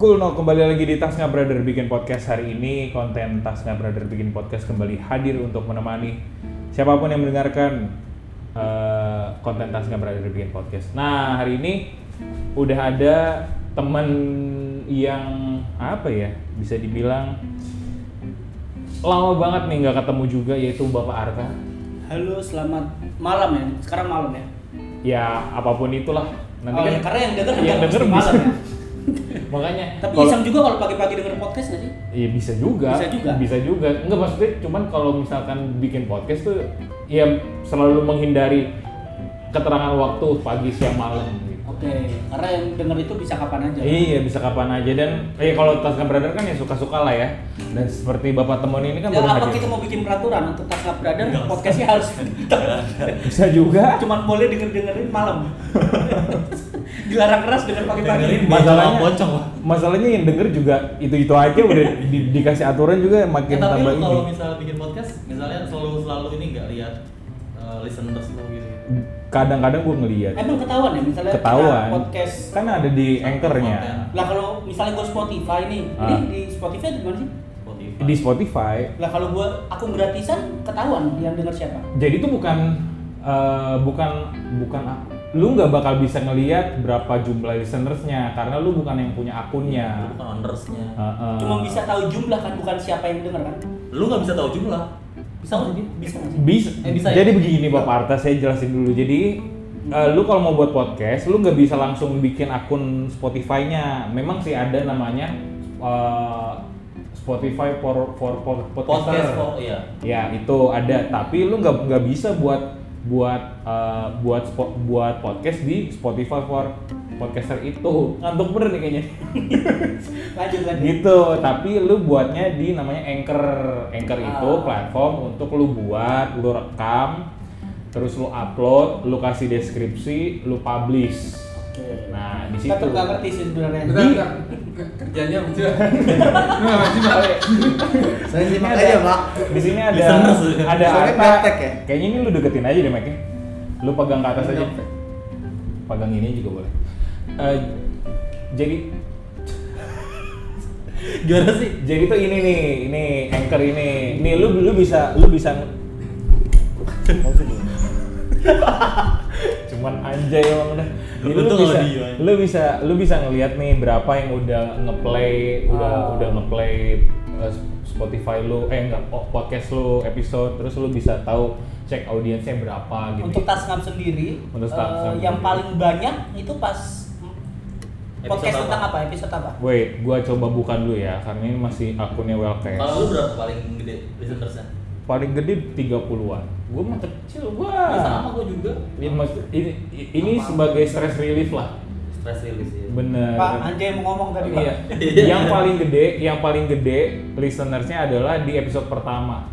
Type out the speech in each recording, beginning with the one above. Cool no kembali lagi di Tasnya Brother bikin podcast hari ini konten Tasnya Brother bikin podcast kembali hadir untuk menemani siapapun yang mendengarkan eh, konten Tasnya Brother bikin podcast. Nah hari ini udah ada temen yang apa ya bisa dibilang lama banget nih nggak ketemu juga yaitu Bapak Arta. Halo, selamat malam ya. Sekarang malam ya. Ya apapun itulah nanti oh, kan ya, karena yang denger yang nggak denger mesti bisa. malam ya. makanya Tapi kalau- iseng juga kalau pagi-pagi denger podcast nggak sih? Iya bisa juga. Bisa juga. Bisa juga. Enggak maksudnya cuman kalau misalkan bikin podcast tuh ya selalu menghindari keterangan waktu pagi siang malam gitu. Oke, karena yang denger itu bisa kapan aja. Iya bisa kapan aja dan eh kalau Taskan Brother kan ya suka-suka lah ya. Dan seperti Bapak temen ini kan Ya, baru apa hadir. kita mau bikin peraturan untuk Tasla Brother podcastnya harus Bisa juga. cuman boleh denger-dengerin malam. Dilarang keras denger pagi-pagi. Dengerin. Masalahnya Masalah pocong lah. Masalahnya yang denger juga itu-itu aja udah di- dikasih aturan juga Eh, makin tapi tambah lu kalau ini. misalnya bikin podcast, misalnya selalu selalu ini nggak lihat eh, listeners lu gitu. Kadang-kadang gue ngeliat Emang ketahuan ya misalnya kita ketahuan. podcast. Kan ada di konten. anchornya. Lah kalau misalnya gue Spotify nih, ini Ah. di Spotify atau gimana sih? Spotify. Di Spotify Lah kalau gue akun gratisan ketahuan yang denger siapa? jadi itu bukan eh, bukan bukan lu nggak bakal bisa ngelihat berapa jumlah listenersnya karena lu bukan yang punya akunnya Lu bukan ownersnya. Heeh. Cuma bisa tahu jumlah kan bukan siapa yang denger kan? Lu nggak bisa tahu jumlah. Bisa nggak sih dia? Bisa nggak sih? bisa, Eh, bisa ya? jadi begini Bapak Arta saya jelasin dulu jadi eh, lu kalau mau buat podcast lu nggak bisa langsung bikin akun Spotify-nya memang sih ada namanya eh, Spotify for for, for podcaster. Podcast kok iya. Ya itu ada, tapi lu nggak nggak bisa buat buat eh, buat spo- buat podcast di Spotify for podcaster itu ngantuk bener nih kayaknya Lanjut lagi. gitu tapi lu buatnya di namanya anchor anchor itu Ah. platform untuk lu buat lu rekam terus lu upload lu kasih deskripsi lu publish Oke. nah di situ Tetap gak ngerti sih sebenarnya. Bentar, bentar. Ke- Kerjanya lucu. Lu nggak ngerti, Pak. Saya Di sini simak ada- aja, Pak. di sini ada Listeners. ada Soalnya Arta. gaptek ya? kayaknya ini lu deketin aja deh Mike lu pegang ke atas aja Gaptek. pegang ini juga boleh Eh, jadi Gimana sih? jadi tuh ini nih ini anchor ini nih lu lu bisa lu bisa ya? cuman anjay emang udah Jadi lu Untung bisa audio aja. lu bisa lu bisa ngelihat nih berapa yang udah ngeplay udah Ah. udah ngeplay eh, Spotify lu eh enggak po- podcast lu episode terus lu bisa tahu cek audiensnya berapa gitu Untuk Tasngam sendiri, Untuk Tasngam eh, yang sendiri. paling banyak itu pas podcast apa? tentang apa? Episode apa? Wait, gua coba bukan dulu ya, karena ini masih akunnya Wellcast. Kalau lu berapa paling gede listenersnya? Paling gede 30-an. Gua mah kecil Ya, gua. sama gua juga. Ya, maksud- ini ini sebagai stress relief lah. Stress release ya. Bener. Pak Anjay mau ngomong tadi Pak. Eh, Iya. yang paling gede, yang paling gede listenersnya adalah di episode pertama.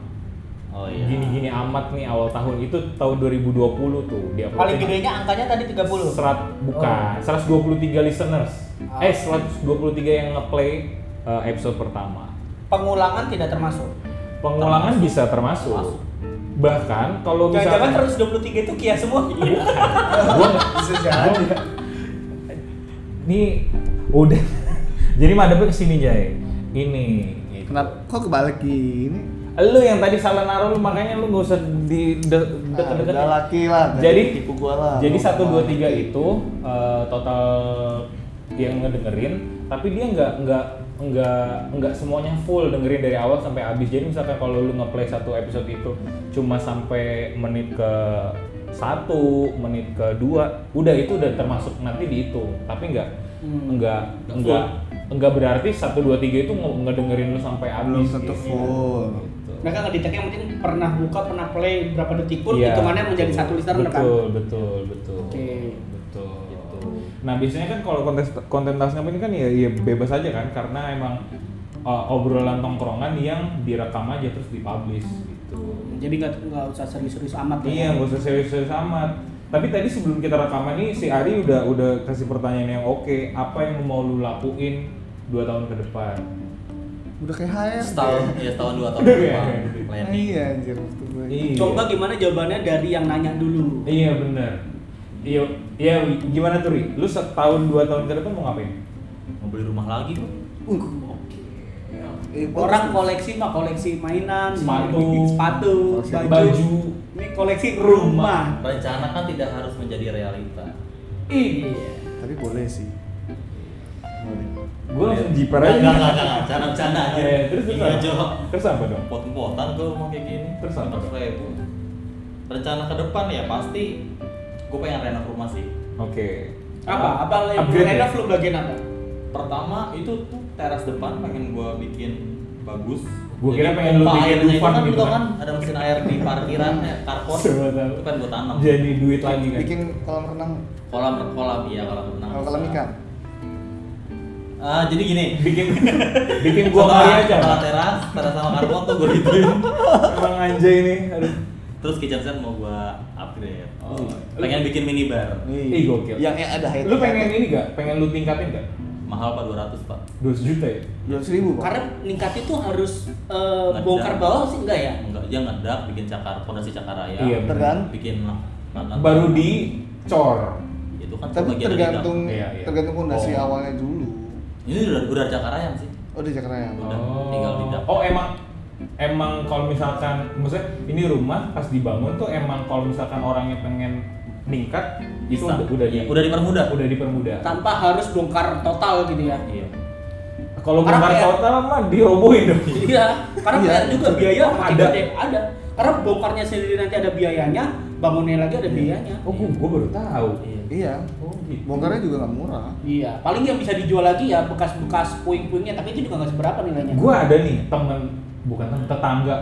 Oh iya. Gini-gini amat nih awal tahun itu tahun 2020 tuh dia Paling gedenya angkanya tadi 30. serat bukan 123 listeners. Ah. Eh 123 yang ngeplay uh, episode pertama. Pengulangan tidak termasuk. Pengulangan Termasuk. bisa termasuk. Termasuk. Bahkan kalau Jangan-jangan misalkan 123 itu Kia semua. Iya. gua nggak- Bisa gua jadi. nggak- Ini udah. Jadi madepnya kesini Jay. Ini. gitu. Kenapa? Kok kebalik gini? Lu yang tadi salah naruh lu makanya lu nggak usah di de- Nah, deket-deket. udah laki lah. tadi Jadi tipu gua lah. Jadi Gua satu mau dua laki. tiga itu eh, total yang ngedengerin, tapi dia nggak nggak nggak nggak semuanya full dengerin dari awal sampai habis. Jadi misalkan kalau lu ngeplay satu episode itu cuma sampai menit ke satu, menit ke dua, udah itu udah termasuk nanti dihitung. Tapi nggak Hmm. nggak Nggak nggak nggak berarti satu dua tiga itu nge- ngedengerin lu sampai belum habis. tentu kayaknya. full. Gitu. Mereka ngedeteknya mungkin pernah buka, pernah play berapa detik pun Iya, hitungannya menjadi betul. satu listener kan. betul betul betul Oke. Gitu. betul nah biasanya kan kalau kontes konten tasnya ini kan ya, ya bebas aja kan karena emang uh, obrolan tongkrongan yang direkam aja terus dipublish gitu Jadi nggak nggak usah serius-serius amat ya. iya nggak usah serius-serius amat tapi tadi sebelum kita rekaman nih si Ari udah udah kasih pertanyaan yang oke apa yang mau lu lakuin dua tahun ke depan Udah kayak HRD. Setahun, ya setahun dua tahun Iya. depan. Nah, Planning. Iya anjir waktu gua. Iya. Coba gimana jawabannya dari yang nanya dulu. iya bener iya iya gimana tuh Ri lu setahun dua tahun ke depan mau ngapain mau beli rumah lagi kok. Uh, Oke. eh, bagus. Orang koleksi mah koleksi mainan, Sepatu. sepatu, Koleksi baju. Ini koleksi rumah. Rencana kan tidak harus menjadi realita. Iya. Tapi boleh sih. Boleh. Gue langsung jiper Iya. Nggak, aja. nggak, nggak, nggak. Bercanda-bercanda aja. Iya, terus terus Iya, apa? Jok. Terus apa dong? Pot-potan gue mau kayak gini. Terus apa? ribu. Rencana ke depan ya pasti gue pengen renov rumah sih. Oke. Apa? Apa yang Upgrade ya? renov lu bagian apa? Pertama itu tuh teras depan pengen gue bikin bagus. Gua Jadi kira pengen lu pompa bikin airnya itu Dufan kan, gitu gitu kan. kan. Ada mesin air di parkiran, ya, carport. Semua tahu. Itu kan gue tanam. Jadi duit lagi kan. Bikin kolam renang, Kolam kolam iya kolam renang. kalau kolam ikan. Ah, jadi gini. Bikin bikin gua Setelah- kali aja. setelah teras, teras sama karport tuh gue gituin. Emang anjay ini. Aduh. Terus kitchen set mau gua upgrade. Oh. Pengen bikin minibar. Ih, gokil. Yang yang ada Lu pengen ini gak? Pengen lu tingkatin gak? Mahal pak 200 pak. 200 juta ya? dua ribu Pak. Karena ningkat itu harus eh, Ngedak. bongkar bawah sih enggak ya? Enggak, dia ngedak bikin cakar fondasi cakaraya. Iya, bener. Tergan- Bikin mana? Baru dicor. itu kan Tapi bagian dari tergantung Iya, iya. tergantung fondasi Oh. awalnya dulu. dak. Ini udah udah cakarayam sih. Oh di Jakarta ya. Udah, tinggal pindah. Oh, emang emang kalau misalkan maksudnya ini rumah pas dibangun tuh emang kalau misalkan orangnya pengen ningkat itu Bisa. udah udah, Iya, di- udah dipermudah. udah dipermudah. Tanpa harus bongkar total gitu ya. Iya. Kalau Karena bongkar kayak- total mah dirobohin dong. Iya, karena Iya. bayar juga biaya Oh, makin ada. gede. ada. Karena bongkarnya sendiri nanti ada biayanya, bangunnya lagi ada biayanya. Oh, gua, gua baru tahu. Iya. Iya. Oh, gitu. Bongkarnya juga nggak murah. Iya, paling yang bisa dijual lagi ya bekas-bekas puing-puingnya, tapi itu juga nggak seberapa nilainya. Gua ada nih temen bukan temen, tetangga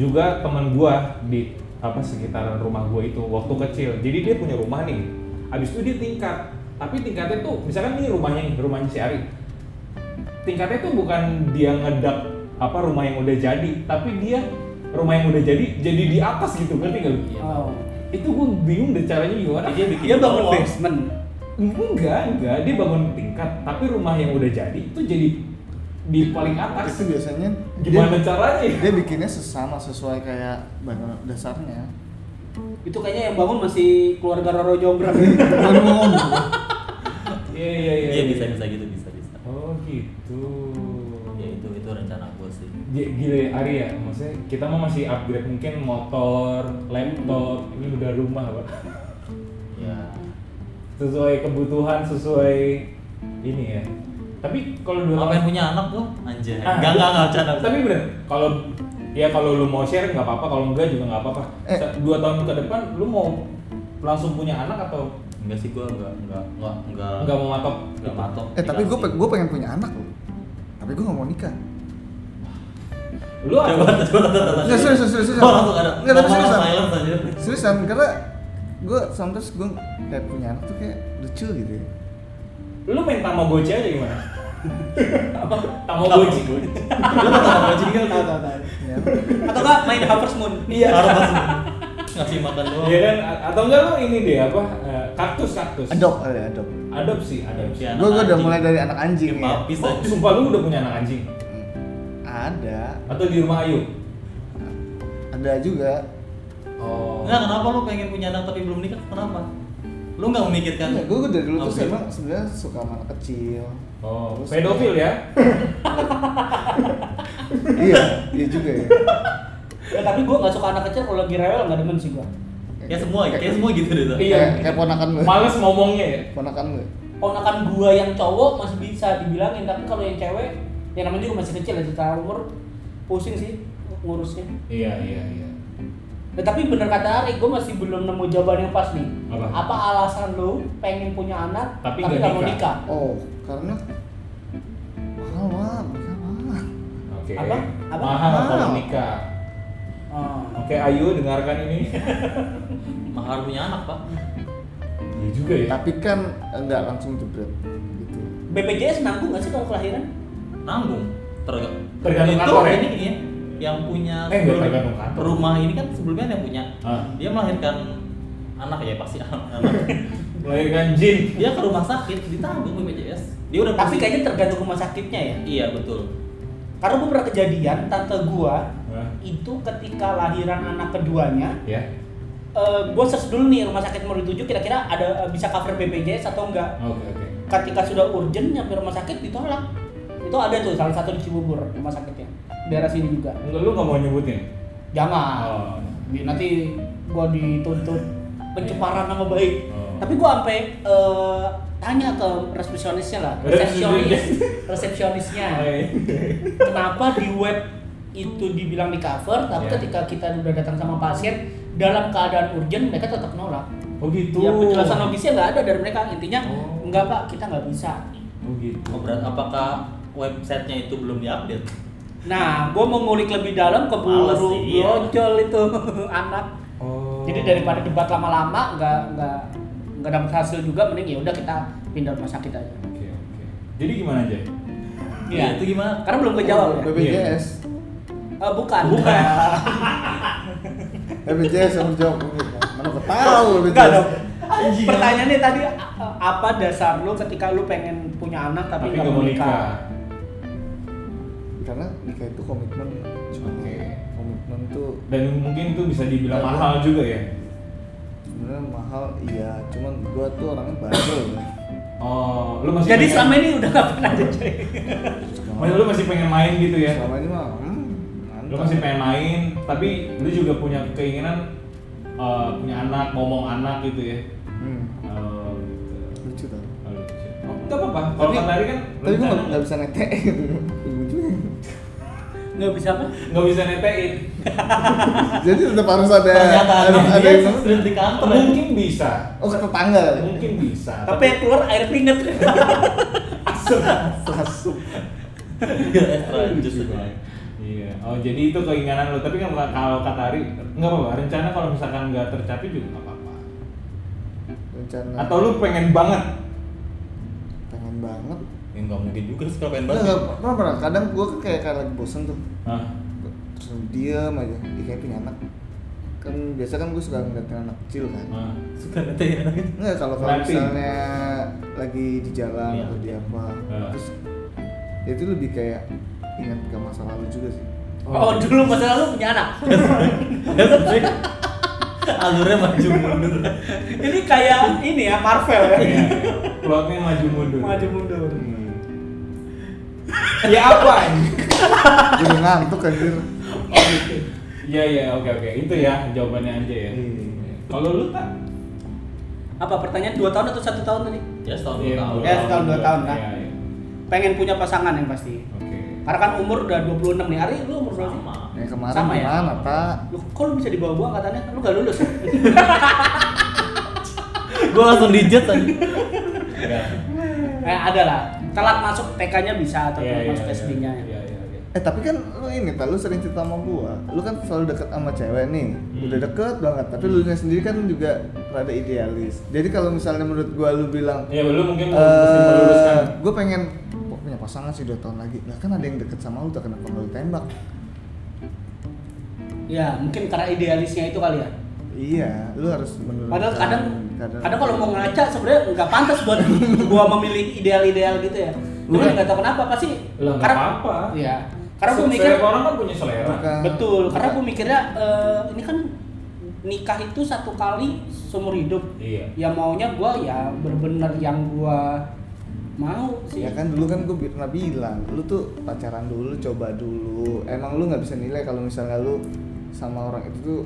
juga temen gua di apa sekitaran rumah gua itu waktu kecil. Jadi dia punya rumah nih. Abis itu dia tingkat. Tapi tingkatnya tuh misalkan ini rumahnya nih, rumahnya si Ari. Tingkatnya tuh bukan dia ngedap apa rumah yang udah jadi, tapi dia rumah yang udah jadi jadi di atas gitu ngerti nggak lu? Iya. Oh. Itu gua bingung deh caranya gimana. Jadi dia bikin Dia bangun bawah. basement. Enggak, enggak. Dia bangun tingkat, tapi rumah yang udah jadi itu jadi di paling atas. Itu biasanya Gimana dia, caranya? ya? dia bikinnya sesama sesuai kayak bangunan dasarnya. Itu kayaknya yang bangun masih keluarga Roro Jonggrang. Baru mau ngomong. Iya iya iya. Iya bisa bisa gitu bisa bisa. Oh gitu. Ya itu itu rencana gue sih. G- Gila ya Ari ya, maksudnya kita mah masih upgrade mungkin motor, laptop, ini udah rumah apa. Ya. Sesuai kebutuhan, sesuai ini ya. Tapi kalau dua Ngapain punya anak lo? Anjay. Ah. Enggak enggak enggak bercanda. Tapi bener, kalau ya kalau lu mau share nggak apa-apa, kalau enggak juga nggak apa-apa. Eh. Sa- Dua tahun ke depan lu mau langsung punya anak atau Enggak sih gue enggak enggak enggak enggak nggak mau matok? enggak matok. Eh tapi gue Dikasih. gue pengen punya anak loh. Tapi gue nggak mau nikah. Lu coba ada? coba coba Nggak, serius, serius, serius. Gua langsung ada Nggak, tapi ngomong seriusan. silence aja Seriusan karena gue sometimes gue kayak punya anak tuh kayak lucu gitu. ya. Lu main Tamagotchi aja gimana? apa? Tamagotchi. Lu tau apa gaji kan Tahu, tahu, Iya. tahu. Ya. Iya. Atau nggak main Harvest Moon? harus langsung ngasih makan doang Iya kan? A- Atau enggak lu ini deh apa? eh, kaktus kaktus. Adopt kali ya, adopt. Adopsi, adopsi. Iya. Gue gue udah mulai dari anak anjing ya. Habis Oh, sumpah lu udah punya anak anjing? Ada, Atau di rumah Ayu? ada juga. Oh. Enggak kenapa lu pengen punya anak tapi belum nikah kenapa? Lu enggak memikirkan Enggak, gue Iya, dari dulu tuh Upgrade. emang sebenarnya suka sama anak kecil. Oh, Terus pedofil kayak- ya? iya, iya juga ya. Ya, tapi gue nggak suka anak kecil kalau lagi rewel nggak demen sih gue. Ya semua, kayak semua gitu deh. Tuh. Iya. Kayak, Eh, kayak ponakan gue. Males ngomongnya ya? Ponakan gue. Ponakan gue yang cowok masih bisa dibilangin, tapi kalau yang cewek, ya namanya juga masih kecil ya secara umur, pusing sih ngurusnya. Iya, iya, iya. Ya, tapi bener kata Ari, gue masih belum nemu jawaban yang pas nih. Apa? alasan lu pengen punya anak Tapi tapi, nggak nggak mau nikah? nikah? Oh, karena mahal mahal, nikah mahal. Oke. Apa? Apa? Mahal kalau Mahal. nikah. Oh. Oke, Ayu dengarkan ini. Mahar punya anak, Pak. Iya juga ya. Tapi kan enggak langsung jebret gitu. BPJS nanggung nggak sih kalau kelahiran? Nanggung. Terga- Tergantung itu kantor ya? ini ya yang punya Eh, enggak sebelum- tergantung kantor. rumah ini kan sebelumnya ada yang punya. Ah. Dia melahirkan anak ya pasti anak. Melahirkan jin. dia ke rumah sakit ditanggung BPJS dia udah Tapi pasti- kayaknya tergantung rumah sakitnya ya. iya betul Karena gue pernah kejadian tante gue Hah? itu ketika lahiran anak keduanya, Ya. eh gue search dulu nih rumah sakit mau dituju kira-kira ada bisa cover BPJS atau enggak. Oke, oke. ketika sudah urgent nyampe rumah sakit ditolak itu ada tuh salah satu di Cibubur rumah sakitnya daerah sini juga Enggak, lu nggak mau nyebutin? jangan Oh. Di- nanti gua dituntut pencemaran nama baik Oh. tapi gua sampai eh, tanya ke resepsionisnya lah resepsionis Oh, iya. resepsionisnya kenapa di web itu dibilang di cover tapi Ya. ketika kita udah datang sama pasien dalam keadaan urgent mereka tetap nolak Oh gitu. ya penjelasan logisnya nggak ada dari mereka intinya Oh. nggak pak kita nggak bisa Oh gitu. Oh, berat. apakah websitenya itu belum diupdate? nah gue mau ngulik lebih dalam keburu Males sih, iya. brojol itu anak Oh. jadi daripada debat lama-lama nggak nggak nggak dapat hasil juga mending ya udah kita pindah rumah sakit aja Oke oke. Jadi gimana aja? Iya. Itu gimana? karena belum kejawab ya? BPJS Eh, bukan bukan BPJS yang jawab mana gua tahu Enggak BPJS dong. Pertanyaannya tadi a- apa dasar lu ketika lu pengen punya anak tapi nggak mau nikah? karena nikah itu komitmen Oke. komitmen tuh Dan mungkin itu bisa dibilang Nggak mahal juga ya. sebenarnya mahal iya cuman gua tuh orangnya bandel Oh, lu masih pengen- Jadi selama ini udah nggak pernah aja coy. Maksudnya lu masih pengen main gitu ya? selama ini mah hmm, Lu mantap. masih pengen main, tapi lu juga punya keinginan eh, punya anak, ngomong anak gitu ya. Hmm, Oh, gitu. lucu tau Oh, lucu. Oh, nggak apa-apa. Kalau Tapi- kan lari kan tapi gua rencana. nggak bisa gitu. nete lucu Nggak bisa apa? nggak bisa netein. jadi tetap harus ada ada, Pernyataannya ada dia yang sering di kantor ya. Mungkin bisa. oh ke tetangga Mungkin bisa. Tapi yang keluar air keringet. masuk Iya, extra jus itu. Iya. Oh jadi itu keinginan lo. Tapi kan bukan- kalau kata Ari nggak apa-apa. Rencana kalau misalkan nggak tercapai juga nggak apa-apa. rencana Atau lu pengen banget? pengen banget Ya nggak mungkin juga sih kalau pengen Nggak, banget. nggak pernah pernah kadang gue kayak kayak lagi bosen tuh Hah? terus diem aja Ih, kayak punya anak kan biasa kan gue suka ngeliatin anak kecil kan Ah. Hah? Suka nanti ya. nggak kalau kalau Nanti. misalnya lagi di jalan Iya. atau di apa Ah. Nah. terus ya itu lebih kayak ingat ke masa lalu juga sih Oh dulu masa lalu punya anak. Ya, sih. Alurnya maju mundur. Ini kayak ini ya Marvel ya. Iya, iya. Plotnya maju mundur. Maju mundur. Hmm. Hmm. ya apa? jadi ngantuk anjir Iya iya oke oke itu ya jawabannya aja ya. Iya. Kalau lu tak? Apa pertanyaan dua tahun atau satu tahun tadi? Ya setahun dua Iya, tahun. dua Ya, setahun, dua juga. tahun, kan? Iya, iya. Pengen punya pasangan yang pasti. Oke. Karena kan umur udah 26 nih. Ari lu umur berapa? Sama. ya kemarin Sama ya? gimana pak Lu kok lu bisa dibawa-bawa katanya? Lu gak lulus. ya? Gue langsung dijat aja. Enggak. Eh, ada lah. Telat masuk TK-nya bisa atau Iya, telat iya, masuk ya. iya. SD-nya. ya. Iya iya iya. Eh tapi kan lu ini, Pak, lu sering cerita sama gua. Lu kan selalu deket sama cewek nih. Hmm. Udah deket banget, tapi lu nya sendiri kan juga rada idealis. Jadi kalau misalnya menurut gua lu bilang Ya lu mungkin eh mesti meluruskan. gua pengen "Wah, punya pasangan sih 2 tahun lagi. Lah kan ada yang deket sama lu, tak kenapa lu tembak? Ya, mungkin karena idealisnya itu kali ya. Iya, lu harus menurut Padahal Hmm. kadang kadang kalau mau ngaca sebenarnya nggak pantas buat gua memilih ideal-ideal gitu ya. Cuma Bukan. nggak tahu kenapa pasti. Lah nggak apa-apa. Iya. Karena gua Se- mikir setiap orang kan punya selera. Bukan. betul. Karena Bukan. gua mikirnya eh, ini kan nikah itu satu kali seumur hidup. Iya. Ya maunya gua ya benar-benar yang gua mau sih. Ya kan dulu kan gue pernah bilang, lu tuh pacaran dulu, coba dulu. Emang lu nggak bisa nilai kalau misalnya lu sama orang itu tuh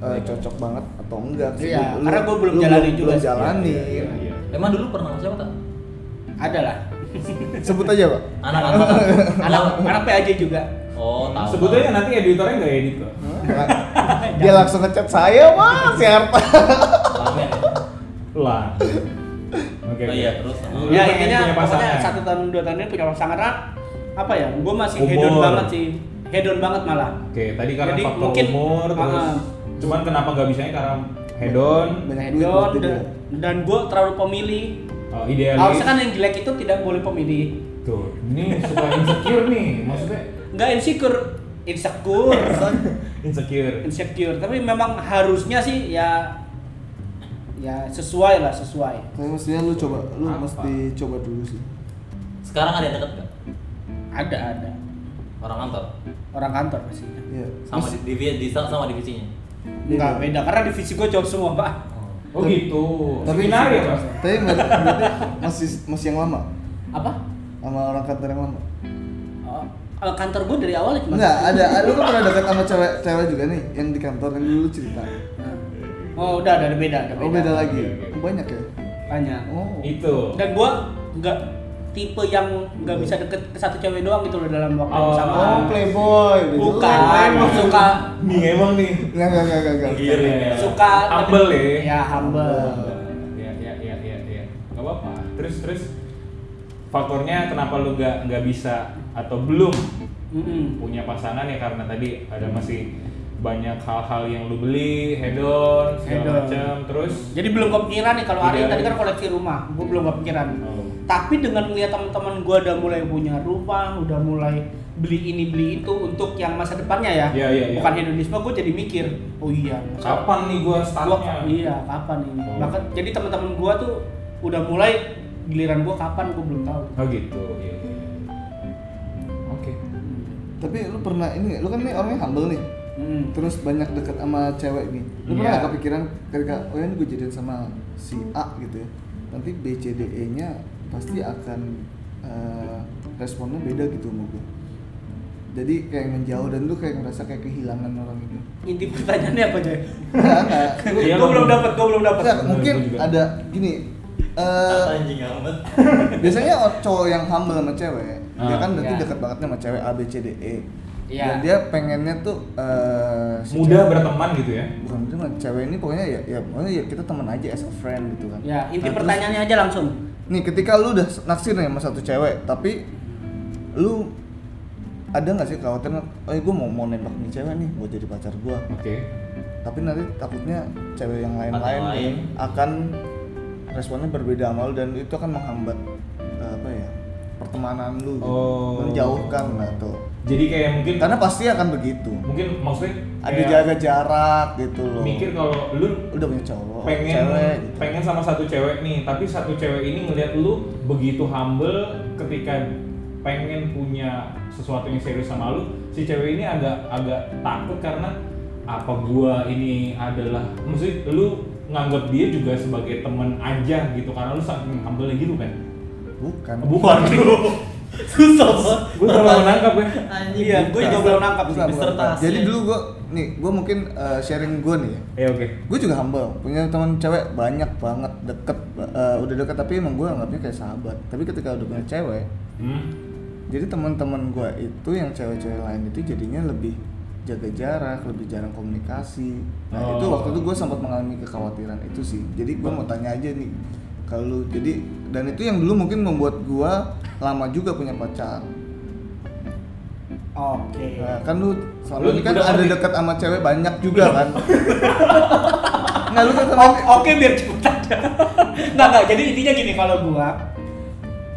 eh, cocok banget atau enggak sih. Iya, Lu- karena lu- gua belum lu jalani juga belum sih. jalani. Iya, iya, iya. Emang dulu pernah sama siapa tak? Ada lah. iya. Sebut aja, Pak. Anak-anak. Anak anak PAJ juga. Oh, tahu. Sebut aja nanti editornya nggak edit kok. Dia langsung ngechat saya, Mas, si Harta. Ramen ya. Lah. Oke. Oh, oke. iya, terus. Lu ya pengen intinya punya pokoknya pasangan. satu tahun dua tahun ini punya pasangan Ra, apa ya gue masih Umur. hedon banget sih hedon banget malah Oke, tadi karena Jadi faktor mungkin- umur terus. Ah. Cuman kenapa nggak bisanya karena hedon, Banyak duit ya? hedon buat dia. dan, dan gue terlalu pemilih oh, idealis. harusnya kan yang jelek itu tidak boleh pemilih Tuh, ini suka insecure nih, maksudnya nggak insecure insecure insecure. insecure tapi memang harusnya sih ya ya sesuai lah sesuai Tapi mestinya lu coba, lu Apa? mesti coba dulu sih. Sekarang ada yang deket nggak? ada ada Orang kantor. orang kantor pastinya Iya. Sama di, di, di- sama divisinya. nggak beda karena divisi gue jauh semua pak Oh Oh. gitu. Tapi- Seminar ya mas? Tapi mas- berarti masih masih yang lama apa sama orang kantor yang lama. Eh, eh, kantor gue dari awal Nah. cuma Enggak, ada ada lu kan pernah dekat sama cewek cewek juga nih yang di kantor yang dulu cerita. oh udah udah ada beda ada Oh beda lagi. Oke, oke. Banyak ya? banyak Oh. Itu. dan gue nggak tipe yang nggak bisa deket ke satu cewek doang gitu loh dalam waktu yang Oh, sama Oh, playboy. Udah bukan jelek. suka Nih emang nih. Enggak, enggak, enggak, enggak, enggak. Iya, iya. suka Humble ya. ya humble Ya ya ya ya ya. Gak apa-apa. Terus terus faktornya kenapa lu gak nggak bisa atau belum Mm-mm. punya pasangan ya karena tadi ada masih banyak hal-hal yang lu beli, head on, Head segala on. macam. Terus Jadi belum kepikiran nih kalau hari Tidak. tadi kan koleksi rumah, gue belum kepikiran. Iya. Oh. Tapi dengan melihat teman-teman gue udah mulai punya rumah, udah mulai beli ini beli itu untuk yang masa depannya ya. Iya, iya, iya. Bukan hedonisme, gue jadi mikir, oh iya. masa- kapan nih gua Gua, startnya? iya kapan ini? Oh. Maka jadi teman-teman gue tuh udah mulai giliran gue kapan gue belum tahu. Oh gitu. Iya. iya. Oke. Tapi lu pernah ini, lu kan nih orangnya humble nih. Hmm. Terus banyak deket sama cewek nih. Lu pernah Iya. nggak kepikiran ketika oh ya ini gue jadian sama si A gitu ya. Nanti B C D E nya pasti Hmm. akan eh, responnya beda gitu sama gue. Jadi kayak menjauh dan lu kayak ngerasa kayak kehilangan orang itu. Inti pertanyaannya apa Jay? Enggak, enggak. gue Iya, gue lu- Iya. belum dapat, gue belum dapat. Enggak, Bener, mungkin gua juga. ada gini. eh, Apa anjing amat. biasanya or- cowok yang humble sama cewek dia Ah. kan nanti Iya. deket banget sama cewek A B C D E Iya. dan dia pengennya tuh eh, si Mudah cewek- berteman gitu ya. bukan muda mah, cewek ini pokoknya ya ya pokoknya ya kita teman aja as a friend gitu kan Ya inti Nah, terus- pertanyaannya aja langsung. nih ketika lu udah naksir nih sama satu cewek tapi lu ada nggak sih khawatiran eh gue mau mau nembak nih cewek nih buat jadi pacar gua Oke. tapi nanti takutnya cewek yang Pacar lain-lain lain. akan responnya berbeda sama lu dan itu akan menghambat eh, apa ya pertemanan lu gitu. Oh. menjauhkan lah tuh Jadi kayak mungkin karena pasti akan begitu mungkin maksudnya ada kayak jaga jarak gitu loh mikir kalau lu udah punya cowok pengen Oh, cewek gitu. pengen sama satu cewek nih tapi satu cewek ini ngeliat lu begitu humble ketika pengen punya sesuatu yang serius sama lu si cewek ini agak agak takut karena apa gua ini adalah mesti lu nganggap dia juga sebagai temen aja gitu karena lu saking humble gitu kan bukan bukan lu Susah banget. gua terlalu nangkap ya Anjing. Iya, gue juga Bukan. belum nangkap sih. Bukan, bukan, bukan. disertasi. jadi dulu gue nih gue mungkin eh, sharing gue nih ya ya oke gue juga humble punya teman cewek banyak banget deket eh, udah deket tapi emang gue anggapnya kayak sahabat tapi ketika udah punya cewek hmm. jadi teman-teman gue itu yang cewek-cewek lain itu jadinya lebih jaga jarak lebih jarang komunikasi nah Oh. itu waktu itu gue sempat mengalami kekhawatiran itu sih jadi gue mau tanya aja nih kalau lu- jadi dan itu yang dulu mungkin membuat gue lama juga punya pacar Oke. Nah, kan lu Lu selama ini kan udah ada ngerti. dekat sama cewek banyak juga kan nggak lu kan sama O- Oke biar cepet aja. Nggak nggak. Jadi intinya gini kalau gua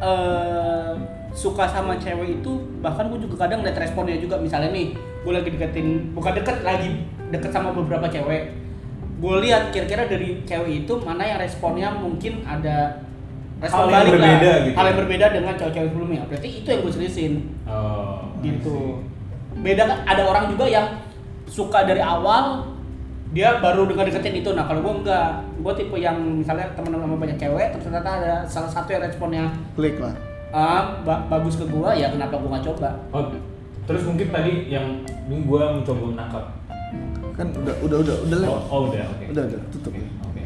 eh suka sama cewek itu bahkan gua juga kadang liat responnya juga misalnya nih gua lagi deketin bukan deket lagi deket sama beberapa cewek gua lihat kira-kira dari cewek itu mana yang responnya mungkin ada respon Hal yang balik lah. berbeda gitu. hal yang berbeda dengan cewek-cewek sebelumnya berarti itu yang gua seriusin oh, gitu beda kan ada orang juga yang suka dari awal dia baru dengar deketin itu nah kalau gue enggak gue tipe yang misalnya teman sama banyak cewek terus ternyata ada salah satu yang responnya klik lah ah ba- bagus ke gue ya kenapa gue nggak coba Oh, terus mungkin tadi yang ini gua mencoba menangkap. kan udah udah udah Oh, udah lewat oh udah, oke. udah udah tutup Oke, ya oke. Tapi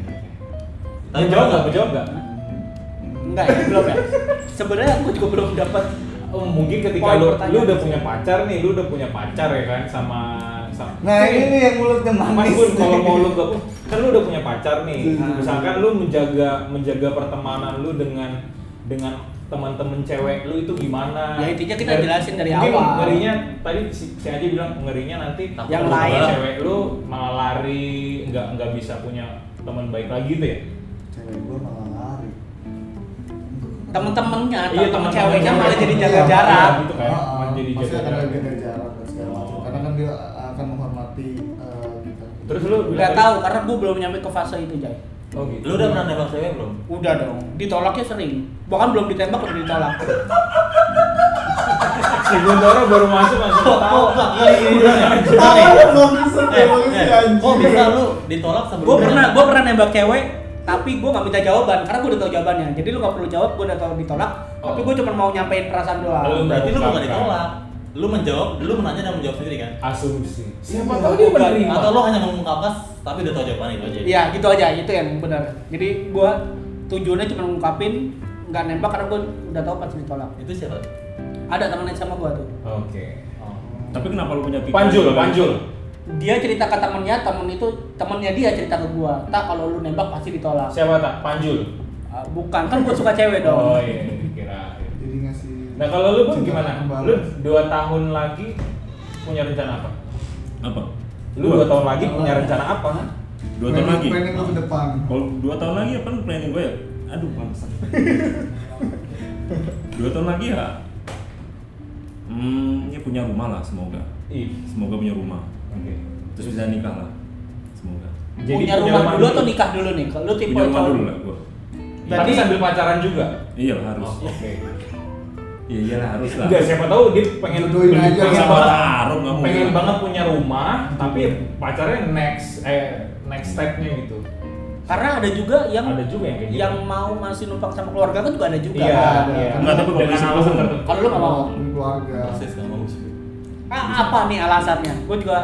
Tapi jawab nggak? nggak? Jawab nggak? hmm. enggak ya belum ya sebenarnya gue juga belum dapat Oh, mungkin ketika Poin lu, lu pertanyaan udah sih. punya pacar nih, lu udah punya pacar ya kan sama sama. nah ini nih yang mulutnya Mas manis Bun, kalau nih. mau lu ke, kan lu udah punya pacar nih. Hmm. Misalkan lu menjaga menjaga pertemanan lu dengan dengan teman-teman cewek lu itu gimana? Ya, intinya kita Ngeri- jelasin dari mungkin awal. Ngerinya tadi si, si Aji bilang ngerinya nanti Takut Yang lu sama lain. cewek lu malah lari, nggak nggak bisa punya teman baik lagi gitu ya. cewek gue malah lari temen-temennya atau Iya, temen temen-temen ceweknya cewek. malah jadi jaga Iya, jarak iya. gitu kan, Ah, ah, jadi pasti jaga akan jarak. jaga jarak dan segala macam. Oh. karena kan dia akan menghormati eh, kita Terus lu udah tahu karena gue belum nyampe ke fase itu Jay Oh gitu. Lu udah pernah nembak cewek belum? udah dong ditolaknya sering bahkan belum ditembak udah ditolak si Guntoro baru masuk langsung tahu. Oh, Awalnya belum bisa Eh, belum bisa eh, gitu, anjing. Kok Oh, bisa lu ditolak sebelum gue pernah gue pernah nembak cewek tapi gue nggak minta jawaban karena gue udah tau jawabannya jadi lu nggak perlu jawab gue udah tau ditolak tapi Oh. gue cuma mau nyampein perasaan doang Oh. Lu berarti lu bukan Bukan. ditolak. Lu menjawab, lu menanya dan menjawab sendiri kan? asumsi siapa Iya, tahu dia bukan. menerima Atau lu hanya mengungkapkan tapi udah tahu jawaban itu aja. Iya gitu aja itu yang benar jadi gue tujuannya cuma ngungkapin nggak nembak karena gue udah tau pasti ditolak Itu siapa? ada temennya sama gue tuh oke Oh. Tapi kenapa lu punya pikiran? panjul panjul dia cerita ke temennya temen itu temennya dia cerita ke gue tak kalau lu nembak pasti ditolak siapa tak panjul Ah, bukan kan gue suka cewek dong oh iya kira jadi ngasih nah kalau lu pun cinta gimana kembali. lu dua tahun lagi punya rencana apa Apa? lu dua tahun lagi punya rencana apa kan? Dua tahun Planning- lagi. planning lu ke depan Kalau dua tahun lagi apa nih planning gue ya? Aduh, bangsa. dua tahun lagi ya, hmm, ya punya rumah lah semoga. Ih, Semoga punya rumah. oke. Terus bisa nikah lah, semoga. punya rumah dulu atau nikah dulu nih kalau lu tipe Punya rumah cowok- dulu lah gue. tapi Berarti- sambil pacaran juga Iya lah harus. Oh, oke Iya iyalah harus lah. enggak siapa tahu dia pengen Jodohin aja. gitu. pengen Sama banget- taruh nggak mungkin. pengen Iya. lah. banget punya rumah tapi pacarnya next eh next stepnya gitu karena ada juga yang Ada juga yang kayak gitu. yang mau masih numpang sama keluarga kan juga ada juga iya kan? iya Enggak, tapi kalau Dengan bisa alasan pun. tertentu. kalau lu nggak mau keluarga Persis nggak mau. ah, apa nih alasannya gue juga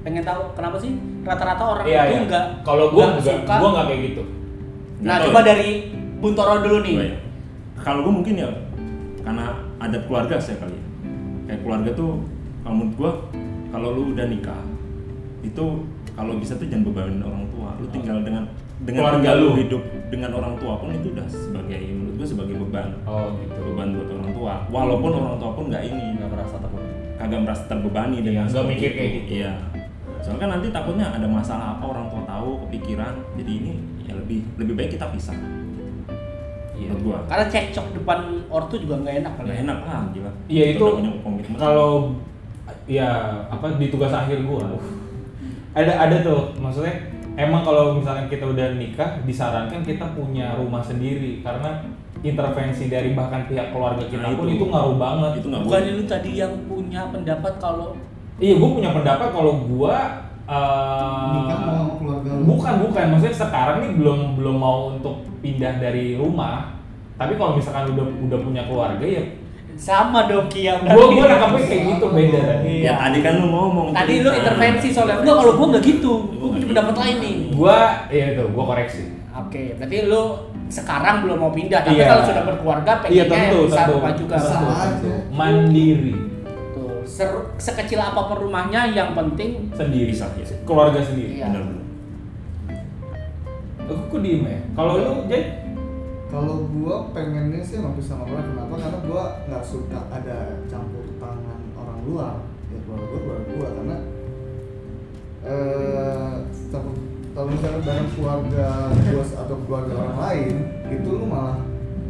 pengen tahu kenapa sih rata-rata orang iya itu iya enggak kalau gua enggak suka gua enggak kayak gitu nah Nggak tahu coba ya. dari Buntoro dulu nih Iya, Baik. Kalau gue mungkin ya karena adat keluarga saya kali. ya. Kayak keluarga tuh kalau menurut gue kalau lu udah nikah itu kalau bisa tuh jangan bebanin orang tua. Lu tinggal dengan dengan Keluarga tinggal lu lu. hidup dengan orang tua pun itu udah sebagai menurut gue sebagai beban. oh gitu Iya. Beban buat orang tua. Walaupun orang tua pun nggak ini Enggak merasa terbebani. kagak merasa terbebani dengan nggak seperti mikir itu. kayak gitu. Iya. Soalnya kan nanti takutnya ada masalah apa orang tua tahu kepikiran. Jadi ini ya lebih lebih baik kita pisah. Iya. Menurut gua. karena cekcok depan ortu juga nggak enak kali ya. Gak enak lah, gila. Iya itu udah punya komitmen. kalau ya apa di tugas akhir gua ada ada tuh maksudnya emang kalau misalnya kita udah nikah disarankan kita punya rumah sendiri karena intervensi dari bahkan pihak keluarga kita Nah, pun itu. itu ngaruh banget itu nggak bukan boleh. lu tadi yang punya pendapat kalau iya gua punya pendapat kalau gua eh, nikah mau sama keluarga lu bukan bukan maksudnya sekarang nih belum belum mau untuk pindah dari rumah tapi kalau misalkan udah udah punya keluarga ya sama dong Ki yang gua gua nangkapnya kayak gitu beda Iya. tadi Ya tadi kan lu ngomong. tadi lu Nah, intervensi soalnya enggak kalau gua nggak gitu Gua gua punya nggak pendapat gitu. lain nih gua ya itu gua koreksi Oke, berarti lu sekarang belum mau pindah, tapi Iya. kalau sudah berkeluarga pengennya Iya, tentu, bisa tentu. rumah juga. Bisa. Tuh, aja. mandiri ser- sekecil apapun rumahnya yang penting sendiri Bisa, ya. keluarga sendiri Iya. Bener bener. aku kok diem ya kalau lu jadi kalau gua pengennya sih emang bisa sama keluarga kenapa karena gua nggak suka ada campur tangan orang luar ya keluarga gua keluarga gua karena eh campur kalau misalnya bareng keluarga gua atau keluarga orang lain itu lu malah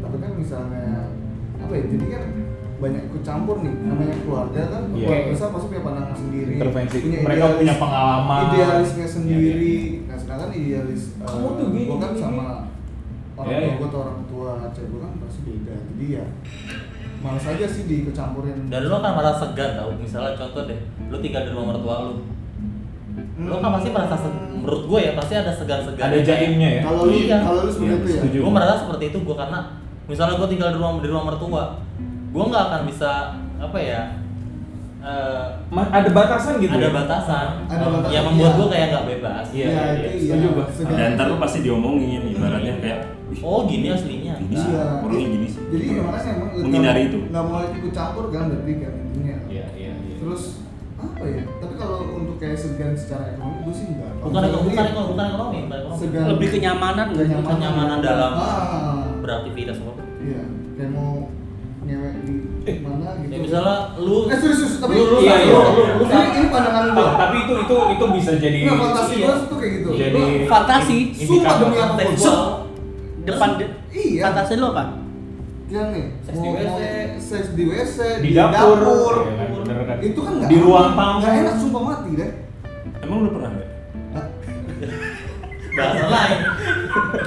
tapi kan misalnya apa ya jadi kan banyak ikut campur nih namanya keluarga kan Iya. keluarga besar pasti punya pandangan sendiri Intervensi. Mereka idealis- punya pengalaman. Iya, idealisnya sendiri nah sedangkan idealis eh, Kamu tuh gini, gua kan gini, sama orang Ya, tua ya. gua atau orang tua cewek gua kan pasti beda jadi ya malas aja sih dikecampurin Dan lu akan merasa segan tau. Misalnya contoh deh, lu tinggal di rumah mertua lu. Lu kan pasti merasa seg- menurut gue ya pasti ada segan-segan. Hmm. ada jaimnya ya kalau lu Iya. kalau lu seperti Iya, itu ya setuju. Gue merasa seperti itu gue karena misalnya gue tinggal di rumah di rumah mertua, gue nggak akan bisa apa ya eh, Ma- ada batasan gitu ada ya? batasan, Ada eh, batasan, yang membuat iya. gue kayak nggak bebas. Iya, Ya, iya, itu setuju iya. gua. Segan. Dan ntar lu pasti diomongin ibaratnya kayak "Ih, Oh gini aslinya. Gini sih. Iya. Orangnya gini sih. Jadi makanya emang nggak- Menghindari itu. nggak mau ikut campur kan berarti kan intinya. iya iya iya. Terus apa ya? Tapi kalau untuk kayak segan secara ekonomi gue sih enggak. Bukan ekonomi, bukan Iya. ekonomi, bukan ekonomi, bukan ekonomi. Segan. lebih kenyamanan nggak sih? Kenyamanan. Kenyamanan dalam Ah. beraktivitas apa? Iya, kayak mau ngewek di mana gitu. Ya misalnya lu eh serius, serius tapi Lu- lu- Iya, iya, lu- iya. lu- ini, ini pandangan gua. Ta- tapi itu itu itu bisa jadi Enggak fantasi iya. gua tuh kayak gitu. jadi kan Gua- Fantasi. indikator. Sumpah demi apa? seksual. Depan de- Iya. fantasi lu apa? Iya nih, Seks mau di WC. mau seks di WC, di dapur, dapur. Iya kan, bener kan? Itu kan nggak di ruang enak. tamu Nggak enak sumpah mati deh. Emang lu pernah nggak? Hah? bahasa lain.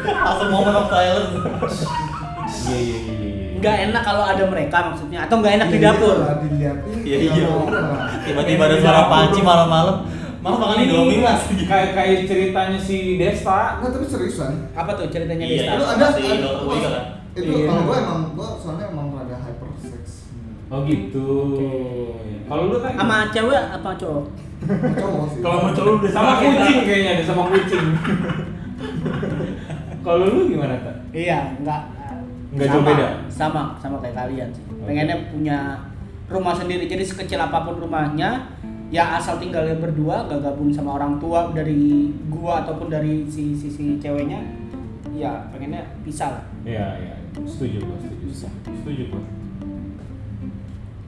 Langsung moment of silence. iya iya iya iya, iya Nggak enak kalau ada mereka maksudnya, atau nggak enak di Iya, dapur? iya lah, diliatin. Iya, iya. nggak mau orang. Tiba-tiba ada suara panci malam-malam. Maaf makan Iya. Indomie mas. kayak kayak ceritanya si Desta Nggak, tapi seriusan Apa tuh ceritanya Iya. Desta? Lu ada pasti ada- dokter Boy kan? Itu Iya. kalau gue emang gue soalnya emang rada hyper sex. oh gitu kalau lu kan Sama cewek apa cowok? Cowok sih. Kalau sama cowok udah sama kucing kayaknya deh sama kucing kalau lu gimana tak Iya, enggak. Nggak Sama, jauh beda? Sama, sama kayak kalian sih. Pengennya punya rumah sendiri. Jadi sekecil apapun rumahnya, ya asal tinggalnya berdua, nggak gabung sama orang tua dari gua ataupun dari si si, si ceweknya. Ya, pengennya pisah lah. Iya, iya. Setuju gua, setuju. Setuju gua.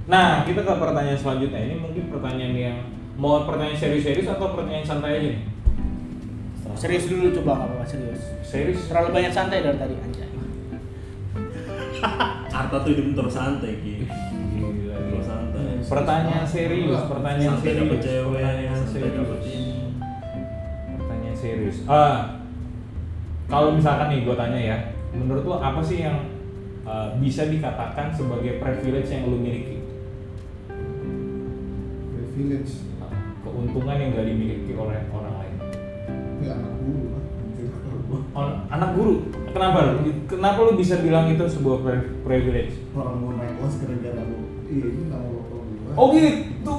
Nah, kita ke pertanyaan selanjutnya. Ini mungkin pertanyaan yang mau pertanyaan serius-serius atau pertanyaan santai aja nih? Serius dulu coba nggak apa-apa serius. Serius. Terlalu banyak santai dari tadi anjay. Arta tuh hidup terus santai gitu. Gila, Terus gila. santai. Pertanyaan serius, pertanyaan Santai serius. dapet cewek, Pertanyaan santai serius. dapet ini. Pertanyaan serius. Ah. Kalau misalkan nih gua tanya ya, menurut lu apa sih yang eh, bisa dikatakan sebagai privilege yang lu miliki? privilege. Keuntungan yang gak dimiliki oleh orang lain. Ya anak guru lah. On- anak guru kenapa lu kenapa lu bisa bilang itu sebuah pri- privilege Orang gue naik kelas gara-gara lu. Ih, ini nama bapak gue. oh gitu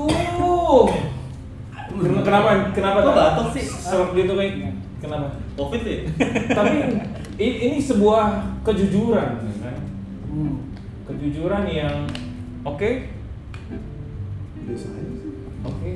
Ken- kenapa kenapa Kok batuk sih? Serem gitu kayak kenapa Covid sih. tapi i- ini sebuah kejujuran kan? Hmm. kejujuran yang oke Biasa aja sih. oke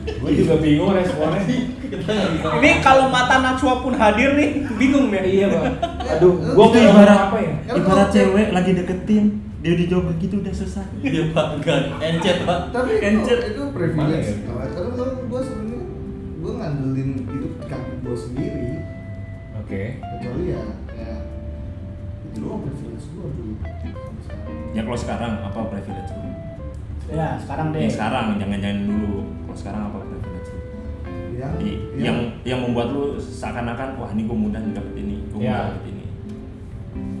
gue juga bingung responnya Kita nggak bisa. Ini kalau mata Najwa pun hadir nih, bingung ya. iya bang aduh Lu gue tuh mau ibarat- apa ya Karena Ibarat kalau- cewek lagi deketin, dia dijawab begitu udah selesai. Iya pak, gan, encet pak. Tapi itu, Encet. itu privilege. Mana ya? Karena kalau gue sebenarnya gue ngandelin hidup kaki gue sendiri. oke Kecuali ya, ya itu doang privilege gue dulu. Sampai sekarang. Ya kalau sekarang apa privilege lu? Ya, sekarang deh. Ya sekarang jangan-jangan dulu. Kalau sekarang apa privilege lu? Yang, I- yang yang membuat lu seakan-akan wah ini gue mudah nih dapet ini, gue Ya. mudah dapet ini.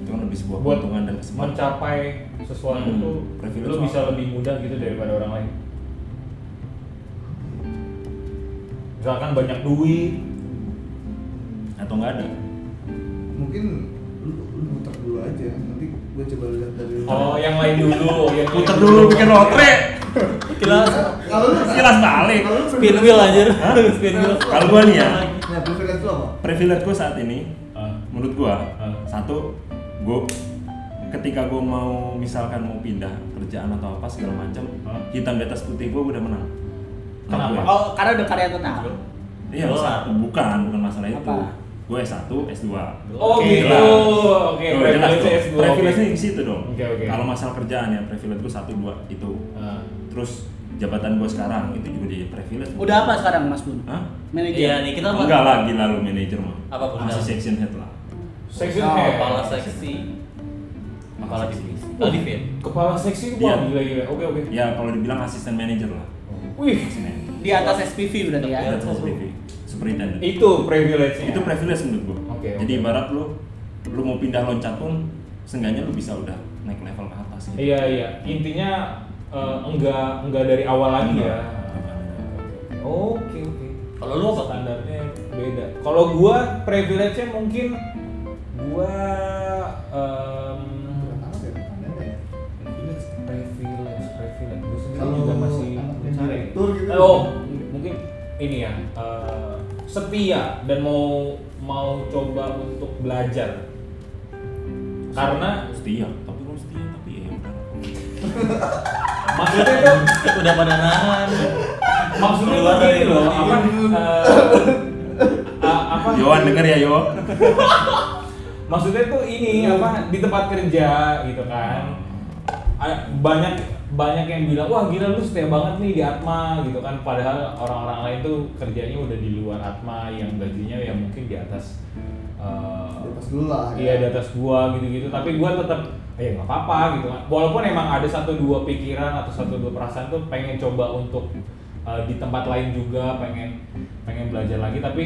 Itu kan lebih sebuah buat keuntungan dan kesempatan. mencapai sesuatu Hmm, tuh privilege lo soal- bisa lebih mudah gitu daripada orang lain misalkan banyak duit Atau nggak ada? mungkin lu, lu muter dulu aja nanti gue coba lihat dari oh yang lain dulu yang Putar dulu bikin lotre, Kilas, kalau lu kilas balik. kalau lu spin wheel anjir. Spin wheel. Kalau gua nih ya, nah preferensi lu apa privilege gue saat ini Ah, menurut gua Hah? satu gua ketika gua mau misalkan mau pindah kerjaan atau apa segala macam Hah? hitam di atas putih gua udah menang Ah. Kenapa? Menurut gua. Oh, karena udah karya tetap. iya Dolar. satu bukan bukan masalah itu Apa? gue S1 S2 oh gitu Oke, jelas. oke Tuh, jelas privilege tuh. S2, oke. privilege-nya di situ dong Oke, oke. kalau masalah kerjaan ya privilege gua satu dua itu Ah, terus jabatan gua sekarang itu juga jadi privilege Udah apa sekarang Mas Bun? Hah? Manajer. Iya nih kita apa? enggak lah gila lu manajer mah Apa pun masih enggak. section head lah section Oh, head Kepala seksi. Kepala divisi. Oh divin. kepala seksi itu wah Iya. gila gila oke oke ya kalau dibilang asisten manajer lah wih Asisten manager. Di atas SPV berarti ya. Iya. That's his baby. Superintendent. itu privilege Itu privilege menurut gua. Oke, Jadi oke. ibarat lu lu mau pindah loncat pun seenggaknya lu bisa udah naik level ke atas gitu. iya iya intinya eh, enggak enggak dari awal lagi ya oke oke Kalau lu apa? standarnya beda kalau gua privilege-nya mungkin gua em, privilege privilege gua sendiri Kalau juga masih anak mencari direktur gitu. oh mungkin ini ya eh, setia dan mau mau coba untuk belajar karena setia, tapi lu setia tapi ya udah. maksudnya tuh Udah pada nahan. maksudnya Keluar tuh dari gini loh rumah. apa eh, a- apa Yohan denger ya, Yo. maksudnya tuh ini Hmm. apa di tempat kerja gitu kan Hmm. A- banyak banyak yang bilang wah gila lu setia banget nih di Atma gitu kan padahal orang-orang lain tuh kerjanya udah di luar Atma yang gajinya ya mungkin di atas eh, Di atas lu lah, iya ya. di atas gua gitu-gitu tapi gua tetap ya nggak apa-apa gitu kan walaupun emang ada satu dua pikiran atau satu dua perasaan tuh pengen coba untuk eh, di tempat lain juga pengen pengen belajar lagi tapi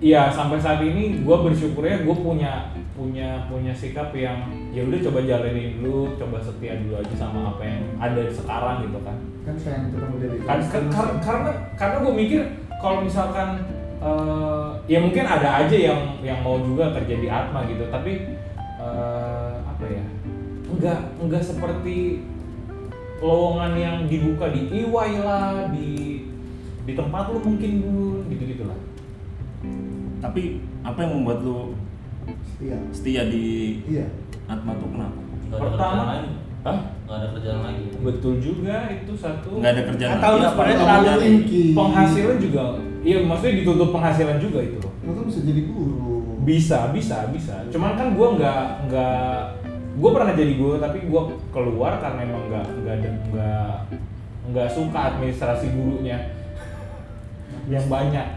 Iya sampai saat ini gue bersyukurnya gue punya punya punya sikap yang ya udah coba jalanin dulu, coba setia dulu aja sama apa yang ada sekarang gitu kan. kan sayang ketemu dari Kan- kan- kar- karena karena gue mikir kalau misalkan eh, ya mungkin ada aja yang yang mau juga kerja di Atma gitu tapi eh, apa ya nggak nggak seperti lowongan yang dibuka di EY lah di di tempat lu mungkin dulu gitu gitulah Tapi apa yang membuat lu iya setia di iya Atma tuh kenapa? Nggak ada Pertama- kerjaan lagi. Hah? Nggak ada kerjaan lagi. betul juga itu satu Nggak ada kerjaan Atau lagi. lu sebenarnya terlalu Pinky. penghasilan juga iya maksudnya ditutup penghasilan juga itu loh lo tuh bisa jadi guru bisa bisa bisa cuman kan gue nggak nggak gue pernah jadi guru tapi gue keluar karena emang nggak nggak ada- nggak nggak suka administrasi gurunya yang banyak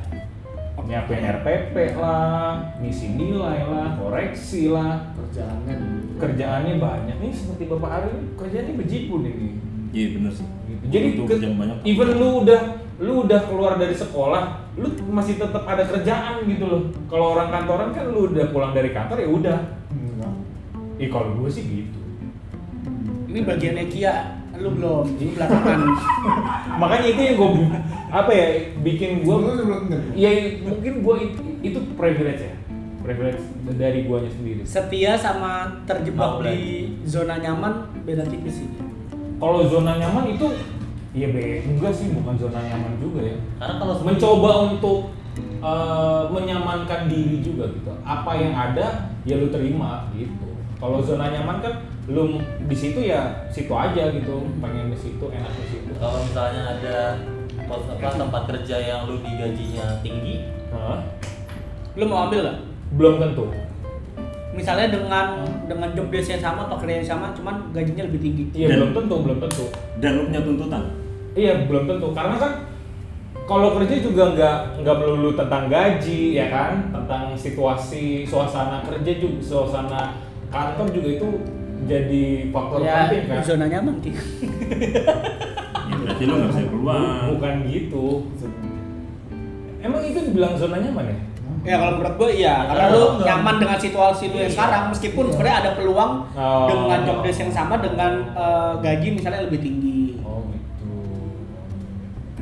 Ya, nyiapin RPP lah ngisi nilai lah koreksi lah kerjaannya dulu. kerjaannya banyak nih seperti bapak Ari kerjaannya bejibun ini Iya bener sih. Gitu. Jadi Itu ke- kerjaan banyak. even lu udah lu udah keluar dari sekolah, lu masih tetap ada kerjaan gitu loh. Kalau orang kantoran kan lu udah pulang dari kantor ya udah. Enggak. Ih kalau gue sih gitu. Ini bagiannya Kia, lu belum, ini belakangan. Makanya itu yang gue apa ya bikin Gua gue lu sebelum ngerti. kan? ya mungkin gue itu, itu privilege ya privilege dari guanya sendiri. Setia sama terjebak Mau di zona nyaman beda tipis sih. Kalau zona nyaman itu ya be enggak sih bukan zona nyaman juga ya. Karena kalau mencoba untuk eh, menyamankan diri juga gitu apa yang ada ya lu terima gitu kalau zona nyaman kan lu di situ ya situ aja gitu pengen di situ enak di situ kalau misalnya ada pos- apa, tempat kerja yang lu digajinya tinggi, Hah? Lu mau ambil nggak? belum tentu Misalnya dengan Hmm. dengan job desk yang sama, pekerjaan yang sama, cuman gajinya lebih tinggi. iya Dan- belum tentu belum tentu Dan lu punya tuntutan. iya belum tentu karena kan kalau kerja juga nggak nggak melulu tentang gaji ya kan tentang situasi suasana kerja juga suasana kantor juga itu jadi faktor Ya, penting kan zona nyaman sih. Ya berarti lu nggak bisa keluar. bukan gitu Emang itu dibilang zona nyaman ya? Ya kalau menurut gue iya, karena lu nyaman dengan situasi lu yang Iya. sekarang meskipun sebenarnya ada peluang Oh. dengan job desk yang sama dengan eh, gaji misalnya lebih tinggi. Oh gitu.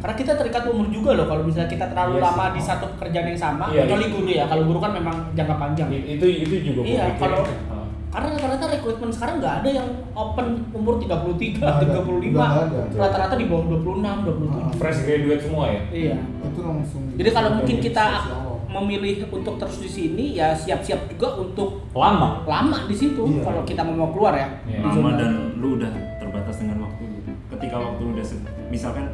Karena kita terikat umur juga loh kalau misalnya kita Iya terlalu sih. lama di satu pekerjaan yang sama, Iya, kecuali iya. guru ya. Kalau guru kan memang jangka panjang. I- Itu itu juga gua Iya, pikirin. kalau- Ah. Karena rata-rata rekrutmen sekarang nggak ada yang open umur 33, Nggak ada. 35. Udah nggak ada. Ah. Rata-rata di bawah 26, 27. fresh graduate semua ya? Iya. Itu langsung. Iya. Jadi kalau mungkin kita Sosial. memilih untuk terus di sini ya siap-siap juga untuk Lama. lama di situ Iya. kalau kita mau mau keluar ya. Iya. lama dan lu udah terbatas dengan waktu gitu. ketika waktu lu udah se- misalkan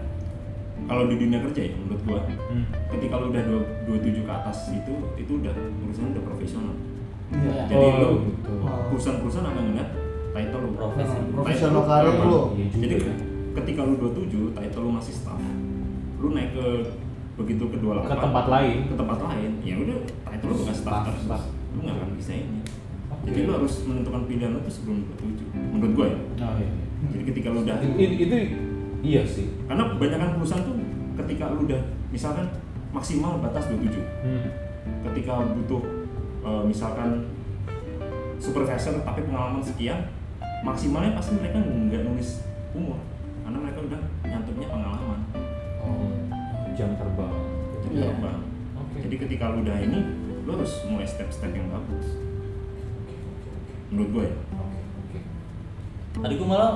kalau di dunia kerja ya menurut gua Hmm. ketika lu udah dua- 27 ke atas itu itu udah urusan udah profesional Iya. jadi Oh, lu gitu. perusahaan-perusahaan akan ngeliat title lu Prof. Nah, Profesi- Profesional title karir berapa. lo. Iya juga. jadi ketika lu 27 title lu masih staff lu naik ke begitu ke 28 Ke tempat lain. ke tempat lain ya udah title lu bukan staff Staff, terus staff. lu nggak akan bisa Iya. ini Oke. jadi lu harus menentukan pilihan lu tuh sebelum 27 menurut gua ya Oh, iya. jadi ketika lu udah I- i- itu iya sih. karena kebanyakan perusahaan tuh ketika lu udah misalkan maksimal batas 27 Hmm. ketika butuh eh, misalkan supervisor tapi pengalaman sekian maksimalnya pasti mereka nggak nulis umur karena mereka udah nyantumnya pengalaman Oh. Jam terbang. Jadi Iya. berapa? Oke. jadi ketika lu udah ini lu harus mulai step-step yang bagus menurut gue ya Oke, oke. Tadi gue malah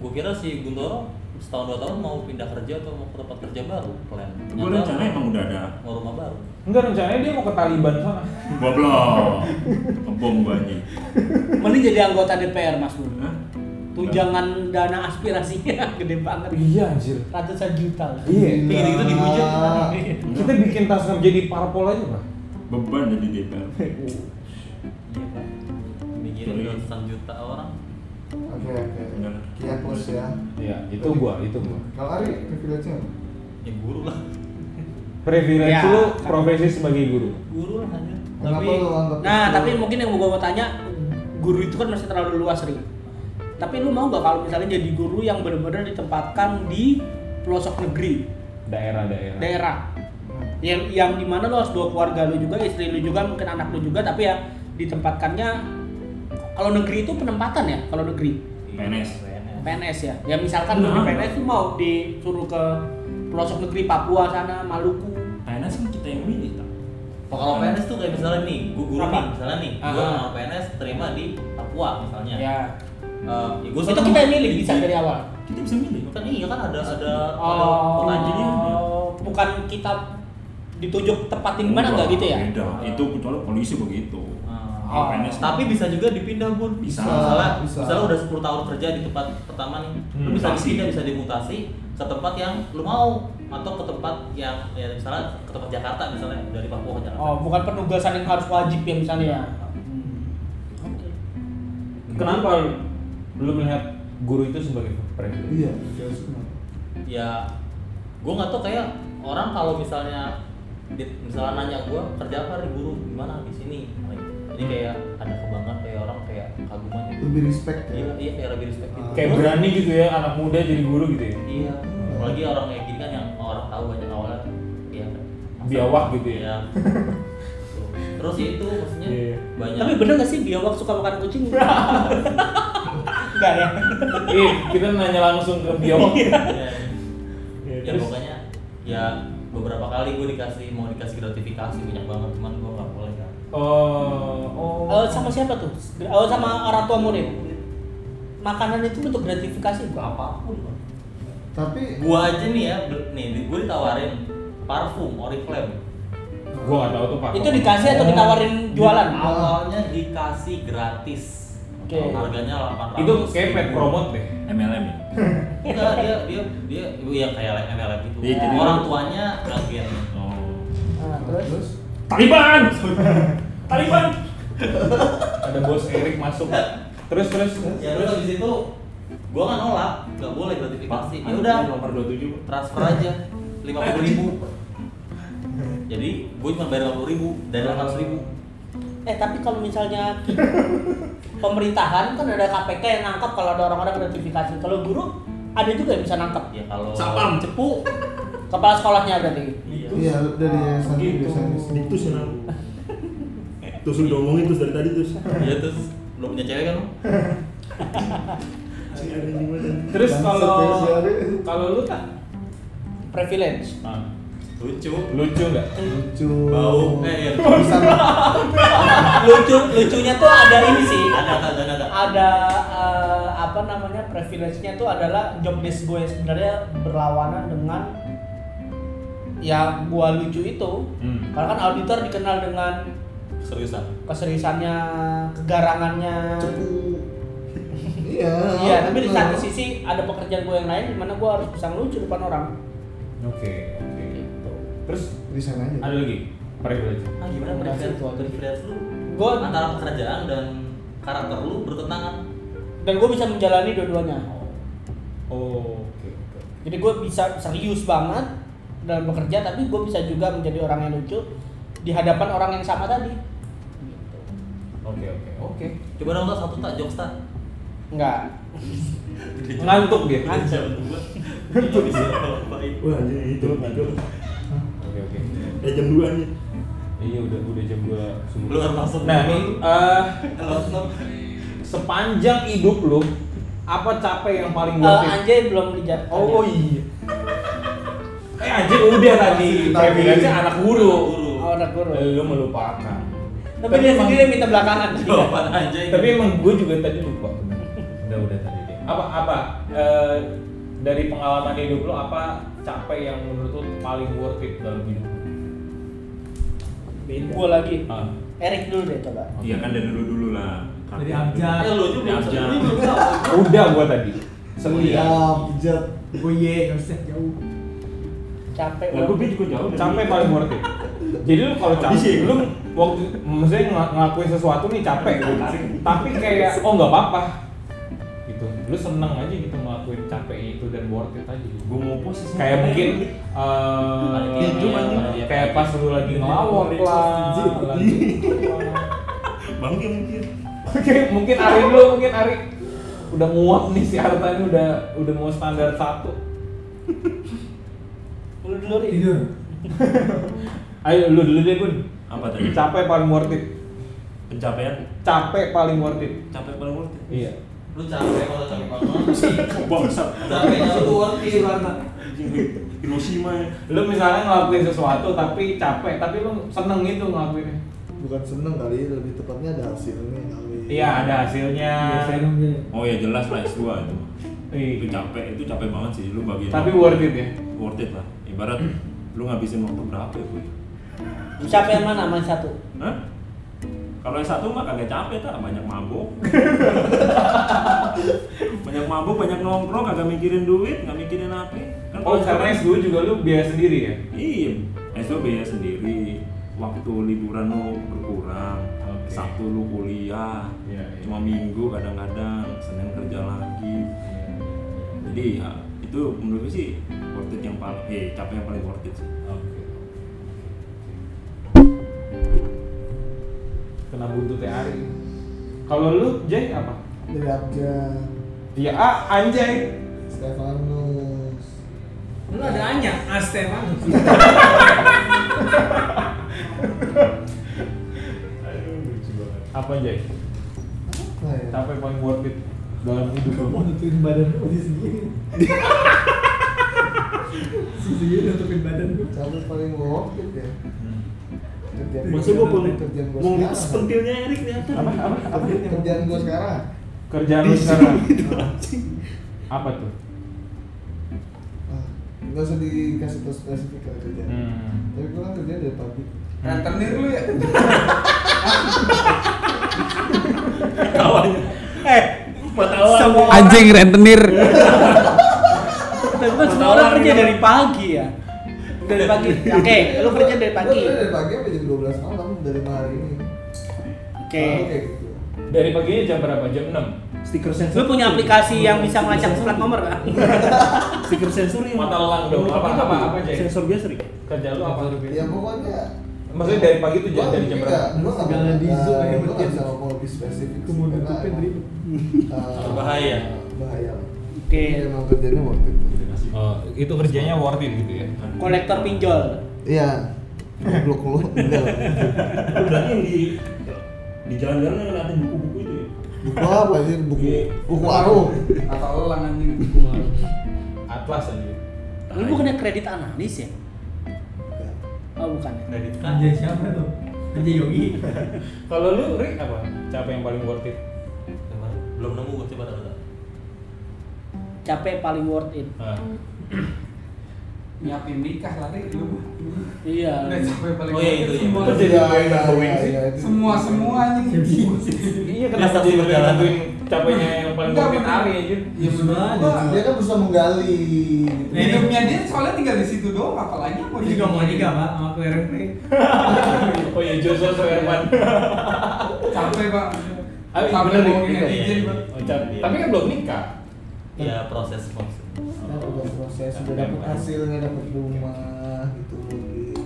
gue kira si Guntoro setahun dua tahun mau pindah kerja atau mau ke tempat kerja baru plan. gue Nyata rencana emang udah ada mau rumah baru. Enggak rencananya dia mau ke Taliban sana. goblok kebom gue anjing Mending jadi anggota DPR Mas Bro. Hah? Tunjangan dana aspirasinya gede banget. Iya anjir. Ratusan juta lah. Iya. Gila. Gitu dihujat. Kita bikin tas jadi parpol aja, Pak. beban jadi DPR Iya kan. Mikirin Iya. ratusan juta orang. Oke oke. Benar. Kia plus ya. Iya, itu gua, itu gua. Kalau Ari privilege-nya apa? Ya guru lah. Privilege Iya. lu profesi sebagai guru. Guru lah hanya. Kenapa Tapi lu anggap Nah, itu- tapi mungkin yang gue mau tanya guru itu kan masih terlalu luas, Ri. Tapi lu mau gak kalau misalnya jadi guru yang benar-benar ditempatkan di pelosok negeri, Ya. Daerah-daerah. daerah yang yang dimana lo harus dua keluarga lo juga istri lo juga mungkin anak lo juga tapi ya ditempatkannya kalau negeri itu penempatan ya kalau negeri Iya, PNS. PNS ya ya misalkan lo di Nah. PNS tuh mau disuruh ke pelosok negeri Papua sana Maluku PNS kan kita yang milih tak? Oh, kalau PNS tuh kayak misalnya nih, gue guru Apa? nih, misalnya nih, gue Aha. orang PNS terima di Papua misalnya. ya Eh, ya gua itu seneng. kita yang milih bisa dari awal Kita bisa milih. Kan iya kan ada ada ada Oh, pertanyaan. bukan kita ditunjuk tempatin di mana nggak gitu ya? Beda. Itu kecuali polisi begitu. Ah. Kalau PNS Tapi bisa juga dipindah bun. Bisa. Misalnya, Bisa. misalnya udah 10 tahun kerja di tempat pertama nih, lu Hmm. bisa Mutasi. dipindah, bisa dimutasi ke tempat yang lu mau atau ke tempat yang ya misalnya ke tempat Jakarta misalnya dari Papua ke Jakarta. Oh, bukan penugasan yang harus wajib ya misalnya ya. Kenapa lu melihat guru itu sebagai presiden? Iya, iya, semua. ya gue nggak tau kayak orang kalau misalnya di, misalnya nanya gue kerja apa di guru gimana di sini jadi Hmm. kayak ada kebanggaan kayak orang kayak kaguman gitu lebih respect iya ya. iya kayak lebih respect gitu Kayak berani gitu ya anak muda jadi guru gitu ya? iya apalagi orang kayak gini kan yang orang tahu banyak awalnya iya kan. Biawak gitu ya? Iya. terus ya itu maksudnya Iya. banyak kan Tapi bener nggak sih biawak suka makan kucing? Enggak ya. Ih, kita nanya langsung ke biawak. Iya. Ya, ya terus pokoknya ya beberapa kali gue dikasih mau dikasih gratifikasi banyak banget cuman gue nggak boleh kan oh oh. Oh, sama siapa tuh? Oh, sama orang tua murid. Makanan itu untuk gratifikasi gua apapun Bang. Tapi gua aja nih ya bel- nih gue ditawarin parfum Oriflame Gua nggak tahu tuh Pak. Itu dikasih atau ditawarin Oh. jualan? Nah, awalnya dikasih gratis Oke. harganya delapan Itu kayak pet promote deh. MLM ya. enggak dia dia dia ibu ya kayak MLM gitu Iya, jadi- orang tuanya agen Oh. Nah, terus terus Taliban. Taliban. Ada bos Erik masuk. Terus terus. ya terus habis itu gua nggak nolak nggak boleh gratifikasi ya udah Nomor 27. transfer aja lima puluh ribu jadi gue cuma bayar lima puluh ribu dan delapan ribu eh tapi kalau misalnya pemerintahan kan ada KPK yang nangkap kalau ada orang-orang gratifikasi. Kalau guru ada juga yang bisa nangkap. ya kalau Sapam. cepu Kepala sekolahnya berarti. iya iya dari yayasan Gitu. biasanya sih. Diktus ya Nang. Terus lu udah ngomongin terus dari tadi terus. ya terus lo punya cewek kan lo? Si ada di mana? Terus Bangsat kalau ya, si Ari. kalau lu tak Privilege. lucu Nah, lucu nggak? lucu. bau eh iya. Bisa Lucu lucunya tuh ada ini sih. ada ada ada ada Ada eh, apa namanya privilege-nya tuh adalah job desk gue sebenarnya berlawanan dengan ya gua lucu itu. Hmm. Karena kan auditor dikenal dengan seriusan keseriusannya, kegarangannya, cepu. Iya. Iya, tapi di satu sisi ada pekerjaan gue yang lain di mana gue harus bisa ngelucu depan orang. Oke oke. Terus Resign aja. ada lagi privilege. ah gimana preferensi preferensi lu Gua antara pekerjaan dan karakter lu bertentangan dan gue bisa menjalani dua-duanya. Oh, oke oke. Jadi gue bisa serius banget dalam bekerja, tapi gue bisa juga menjadi orang yang lucu di hadapan orang yang sama tadi. Oke oke oke. coba dong tak satu tak jokes tak Enggak. Ngantuk dia. Ngaco. Iya, bisa ngapain. Wah, anjir itu tidur. Oke oke. Eh jam 2 nih. Iya udah udah jam 2 subuh. Lu harus masuk. Nah, nih eh, Langsung. sepanjang hidup lu apa capek yang paling Eh, worth it? Anjay belum dijat. Oh, oh iya. Eh aja udah tadi privilege anak guru. Oh, anak guru. Lu melupakan. Tapi dia emang- Oh. sendiri yang minta belakangan. jawaban aja ini. Tapi emang gue juga tadi lupa. Udah udah tadi deh. Apa apa eh, dari pengalaman hidup lo apa capek yang menurut lo paling worth it dalam hidup? lo? Gue Iya. lagi. Ah. Erik dulu deh coba. Iya kan dari dulu dulu lah. Dari abjad. eh lu aja belum Abjad. ini belum tahu Udah gue tadi. Iya, Setia. pijat. Oh iya, nggak usah jauh. Capek. Lah gue juga jauh. dari- Capek paling worth it. Jadi lu kalau Habis capek, ya? lu waktu maksudnya ng- ngelakuin sesuatu nih capek, tapi kayak oh nggak apa-apa gitu. Lu seneng aja gitu ngelakuin capeknya itu dan worth it aja. Gue mau posisi. kayak mungkin eh, Iya, cuma ini. kayak pas lu lagi ngelawak Iya. lah lagi bangke mungkin. oke mungkin Ari dulu mungkin Ari udah nguap nih si Arta ini udah udah mau standar satu Lu dulu Rik. Tidur. Ayo lu dulu deh Gun. apa tadi Capek paling worth it. pencapaian Capek paling worth it. capek paling worth it Iya. lu capek kalau capek banget sih bangsat capeknya lu tuh worth it warna Hiroshima ya Lu misalnya ngelakuin sesuatu tapi capek, tapi lu seneng gitu ngelakuinnya. bukan seneng kali lebih tepatnya ada hasilnya kali Iya, ada hasilnya. oh ya jelas lah S2 itu itu Iya. capek itu capek banget sih lu bagian Tapi worth it ya. worth it lah ibarat lu ngabisin waktu berapa ya boy Siapa yang mana main satu? Hah? Kalau yang satu mah kagak capek tak, banyak mabuk. banyak mabuk, banyak nongkrong, kagak mikirin duit, nggak mikirin apa. Kan Oh, kalau karena sekarang- S2 juga lu biaya sendiri ya? Iya, itu biaya sendiri. Waktu liburan lu berkurang, Oke. Sabtu lu kuliah, Iya, iya. cuma minggu kadang-kadang, Senin kerja lagi. Jadi ya itu menurut gue sih worth it yang paling, eh capek yang paling worth it sih. Oke. Kena buntutnya Ari. Kalau lu, Jay apa? dari Abja Ya, ah, anjay. Stefanus Lu ada Anya, Astefanus. Apa Jay? apa ya Capek paling worth it dalam hidup lu. nutupin badan lu di Iya, sendiri. Si sendiri nutupin badan lu. capek paling worth it ya kerjaan Maksud gue gua- mau kerjaan gua mau sekarang lihat pentilnya Erik ternyata. Apa, apa, apa? Kerjaan- kerjaan gua sekarang Kerjaan lu sekarang. Apa tuh? ah, nggak usah dikasih tau spesifik kalau kerjaan Hmm. tapi gua kan kerja dari pagi Rentenir lu ya. Tawanya. Eh, matawa. Semua Anjing rentenir. Tapi kan semua orang kerja dari pagi ya. Dari pagi. Oke, Eh, lu kerja dari pagi. Gua kerja dari Oke. pagi sampai jam 12 malam dari hari ini Oke, gitu Dari paginya jam berapa? Jam 6. Stiker Lu punya aplikasi yang bisa melacak plat nomor kan? Stiker sensor yang Mata lelang dong. Apa- apa- apa, Jay? Sensor biasa nih. Kerja lu apa? ya pokoknya Maksudnya dari pagi tuh jam Gua dari jam nggak- berapa? gua nggak Segala mau- dizu eh, pakai gua nggak petir. bisa ngomong lebih spesifik sih, Kemudian karena tutupin, emang, Ri. eh, Bahaya. bahaya Oke. Ini Iya, emang kerjanya waktu itu Oh, itu kerjanya worth it gitu ya. Kolektor pinjol. iya goblok lu enggak lah. Berarti yang di di jalan-jalan yang ngeliatin buku-buku itu ya. buku apa sih buku Iya. buku warung Atau lu lang anjing. Atlas aja. Lu bukannya kredit analis ya? Oh, bukan. ya? kredit kan Anjay siapa tuh? Anjay Yogi. Kalau lu, Ri, apa? Capek yang paling worth it? belum nemu gue coba ada Capek paling worth it. Ah. Nyiapin nikah lah Ri, lu. Iya. Udah capek paling Oh, iya, waktu itu, iya. semua. Itu jadi Iya, iya, iya, iya, itu. Semua semua anjing. Iya kenapa kenapa jadi sih lu yang nentuin capeknya yang paling Enggak, worth it bener. Ari aja? Ya menurut gua, dia kan bisa menggali Iya, gitu. Hidupnya dia soalnya tinggal di situ doang, apalagi mau juga mau nikah ah, pak, sama kelereng nih. Oh iya Joshua Soerman. Capek pak. Ayo, Sampai bener, mau iya, netizen iya, iya. pak. Oh, cap- Tapi kan belum nikah. ya proses proses Kan udah proses udah dapet hasilnya dapet rumah gitu gitu.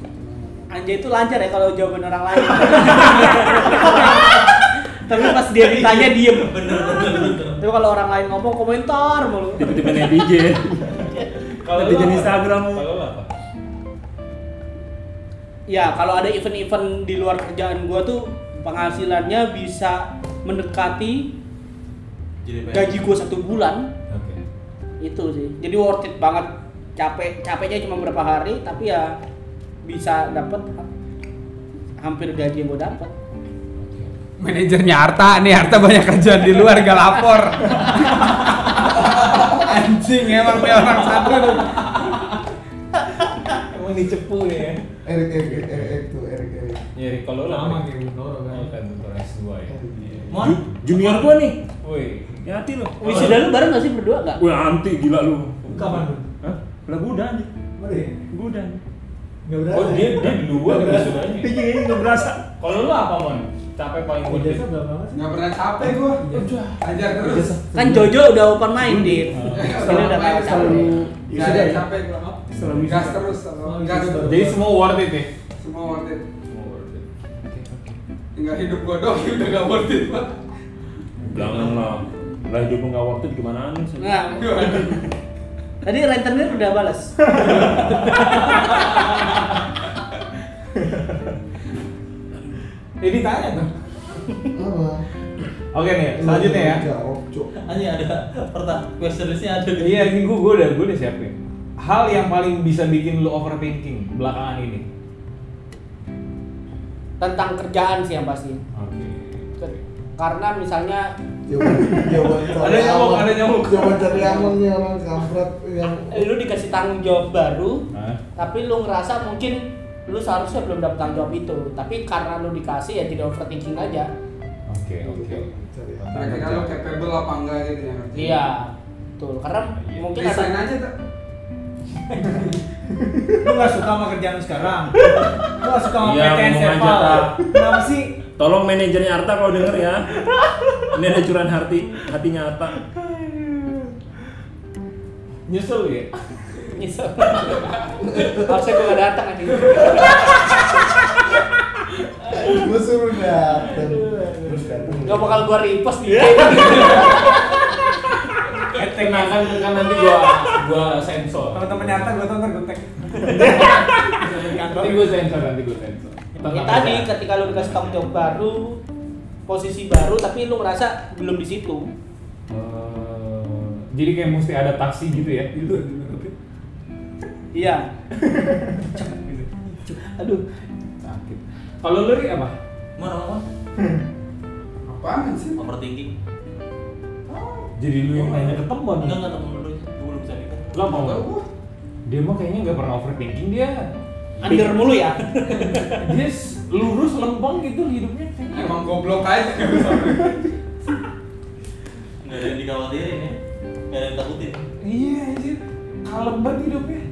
Anjay itu lancar ya kalau jawaban orang lain. Tapi pas dia ditanya diem. bener bener bener Tapi kalau orang lain ngomong komentar mulu. Tipe-tipe netizen. Kalau Tapi lu jadi apa? Instagram. Kalau lu apa? Ya kalau ada event-event di luar kerjaan gua tuh penghasilannya bisa mendekati jadi pengen- gaji gua satu bulan Oke. itu sih. Jadi worth it banget. Capek capeknya cuma berapa hari tapi ya bisa dapet hampir gaji yang gua dapet. Manajernya Arta nih, Arta banyak kerjaan di luar gak lapor. Anjing emang dia orang satu. tuh. Emang dicepu ya. Erik Erik Erik Erik tuh Erik Erik Ya Ri, kalau lu Lama apa? kayak Bintoro kan. Oh, kan bentar S2 ya. mon Ju- Junior gua nih. Woi. Ya hati lu. Wisuda lu bareng gak sih berdua gak? Wah, anti gila lu. Kapan tuh? Hah? Lah gua udah nih. Boleh. Gua udah. nih. Enggak Oh dia dia dua Nggak berasa. wisudanya. Iya, ini enggak berasa. Kalau lu apa mon? Capek paling worth it? Enggak pernah capek gua. Oh, Ajar terus. Hmm. Iya, Kan Jojo udah open minded. Ini udah main tahu capek. Enggak ada yang Iya, capek gua. Gas Selalu bisa. terus, selalu gas terus. Jadi semua worth it ya. semua worth it. Semua worth it. Tinggal hidup gua doang udah gak worth it pak. Jangan lah. Lah hidup enggak waktu gimana nih? sih? Nah, tadi rentenir udah balas. Ini tanya tuh. Apa? Oke nih, Iya, selanjutnya ya. Jawab, Cok. Anjing ada pertanyaan question listnya ada di Iya, ini gue, gue udah gue udah siapin. Hal yang paling bisa bikin lu overthinking belakangan ini. tentang kerjaan sih yang pasti Oke. Ke- karena misalnya Jawaban, jawaban Ada nyamuk, karyawan. ada nyamuk. Jawaban karyawan nih orang kampret yang lu dikasih tanggung jawab baru Hah? tapi lu ngerasa mungkin lu seharusnya belum dapat tanggung jawab itu tapi karena lu dikasih ya tidak overthinking aja Oke, oke. Cari apa? Kira-kira lo capable apa enggak gitu ya? ngerti? iya betul karena Iya. mungkin ada Resign aja tak? Lu gak suka sama kerjaan lu sekarang? Lu gak suka sama Iya, PTN ngomong aja, Seval? Tak. Kenapa sih? Tolong manajernya Arta kalau denger ya. Ini ada curahan hati, hatinya Arta. Nyesel lu ya? nyesel harusnya gue gak datang anjing Gue suruh dateng Terus dateng gak bakal gue repost dia Ketek kan kan nanti gua gua sensor. Kalau temen nyata gue tau ntar gue tag Nanti gua sensor, nanti gua sensor. ya tadi ketika lu dikasih tanggung jawab baru posisi baru tapi lu ngerasa belum di situ Eh, jadi kayak mesti adaptasi gitu ya. Itu iya aduh sakit. Kalau lu Ri, apa? mana mana Apaan sih? overthinking Iya. Jadi lu yang nanya ketemuan enggak enggak temen lu gue belum bisa mikir Lah mau Tahu nggak? gua. Dia mah kayaknya nggak pernah overthinking dia. under mulu ya Dia s- lurus lempeng gitu hidupnya. kayaknya. Emang goblok aja. nggak ada yang dikhawatirin ya nggak ada yang takutin Iya anjir. Kalem banget hidupnya.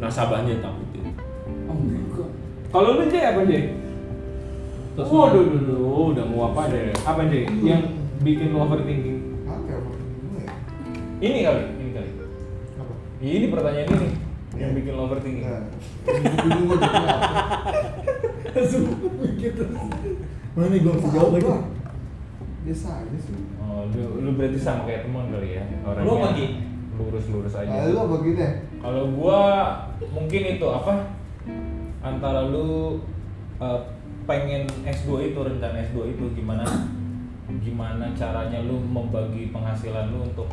Nasabahnya yang takutin. Oh enggak. Kalau lu Jay apa Jay? Terus Waduh, duh, duh, duh, udah mau apa deh? Apa Jay? Yang bikin lu overthinking? Apa ya? Gua ya? Ini kali, ini kali. Apa? Ini pertanyaan ini yang bikin lu overthinking. Nah, bingung gua jawabnya apa. gitu. Mana nih gue mesti jawab lagi Biasa aja sih Oh, lu, lu berarti sama kayak teman kali ya? Orangnya Lu apa, Gi? Lurus-lurus aja. Nah, lu apa gitu ya? Kalau gua mungkin itu apa antara lu eh, pengen S2 itu rencana S2 itu gimana gimana caranya lu membagi penghasilan lu untuk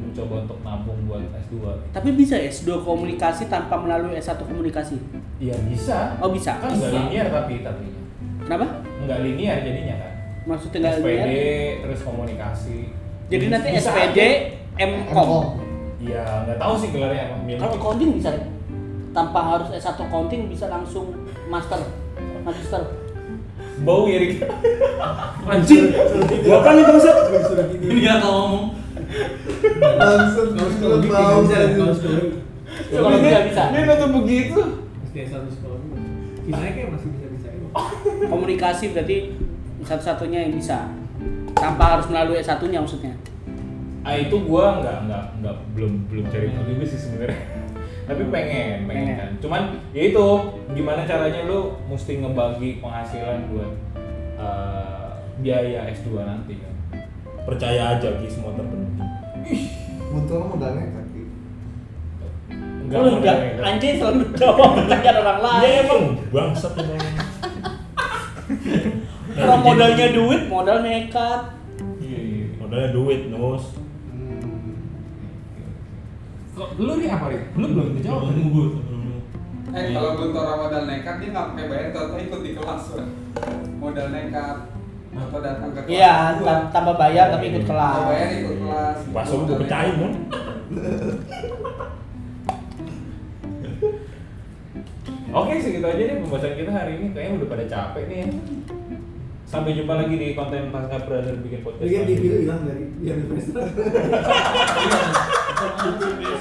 mencoba untuk nabung buat S2 tapi bisa ya S2 komunikasi tanpa melalui S1 komunikasi Iya bisa. oh bisa Kan nggak linear tapi tapi kenapa nggak linear jadinya kan. maksudnya nggak SPD linear? terus komunikasi. jadi nanti Bisa SPD aja. Emkom. MCOM Iya nggak tahu sih gelarnya apa. Milih. kalau accounting bisa tanpa harus S1 accounting bisa langsung master master bau ya Rick. Anjing, gua kan itu set. Iya. ini nggak tau Iya, ngomong Bangsat, Kalau lu psikologi tahu gak bisa, kan? kalau psikologi kalau nggak bisa Dia nonton begitu. Mesti S1 psikologi Kisahnya kayak masih bisa-bisa ya komunikasi berarti satu-satunya yang bisa tanpa harus melalui S1 nya maksudnya Ah itu gua nggak nggak nggak belum belum cari tahu juga sih sebenarnya. Tapi pengen, Oh, pengen Pengen. kan. Cuman ya itu gimana caranya lu mesti ngebagi penghasilan buat eh, biaya S2 nanti kan. Percaya aja Ki, semua terpenuhi. Muter modalnya kaki Oh, Nggak Lu mau udah nanya, nggak. Oh, anjing selalu jawab pertanyaan orang Iya lain emang bangsat emang. kalau modalnya duit modal nekat Iya iya. modalnya duit, Nus. Kok lu nih apa nih? Lu belum dijawab. Eh kalau Guntora modal nekat dia nggak pakai bayar, atau ikut di kelas Bro. Modal nekat atau datang ke kelas. iya gua. tam- tambah bayar iya. tapi ikut Nggak Oh, bayar kelas ikut kelas. Masuk gua Modal pecahin nekat. kan. Oke segitu aja deh pembahasan kita hari ini kayaknya udah pada capek nih ya. Sampai jumpa lagi di konten Pasca iya. Brother bikin podcast. Bikin selanjutnya. hilang dari Yang investor Apaan sih, Bi?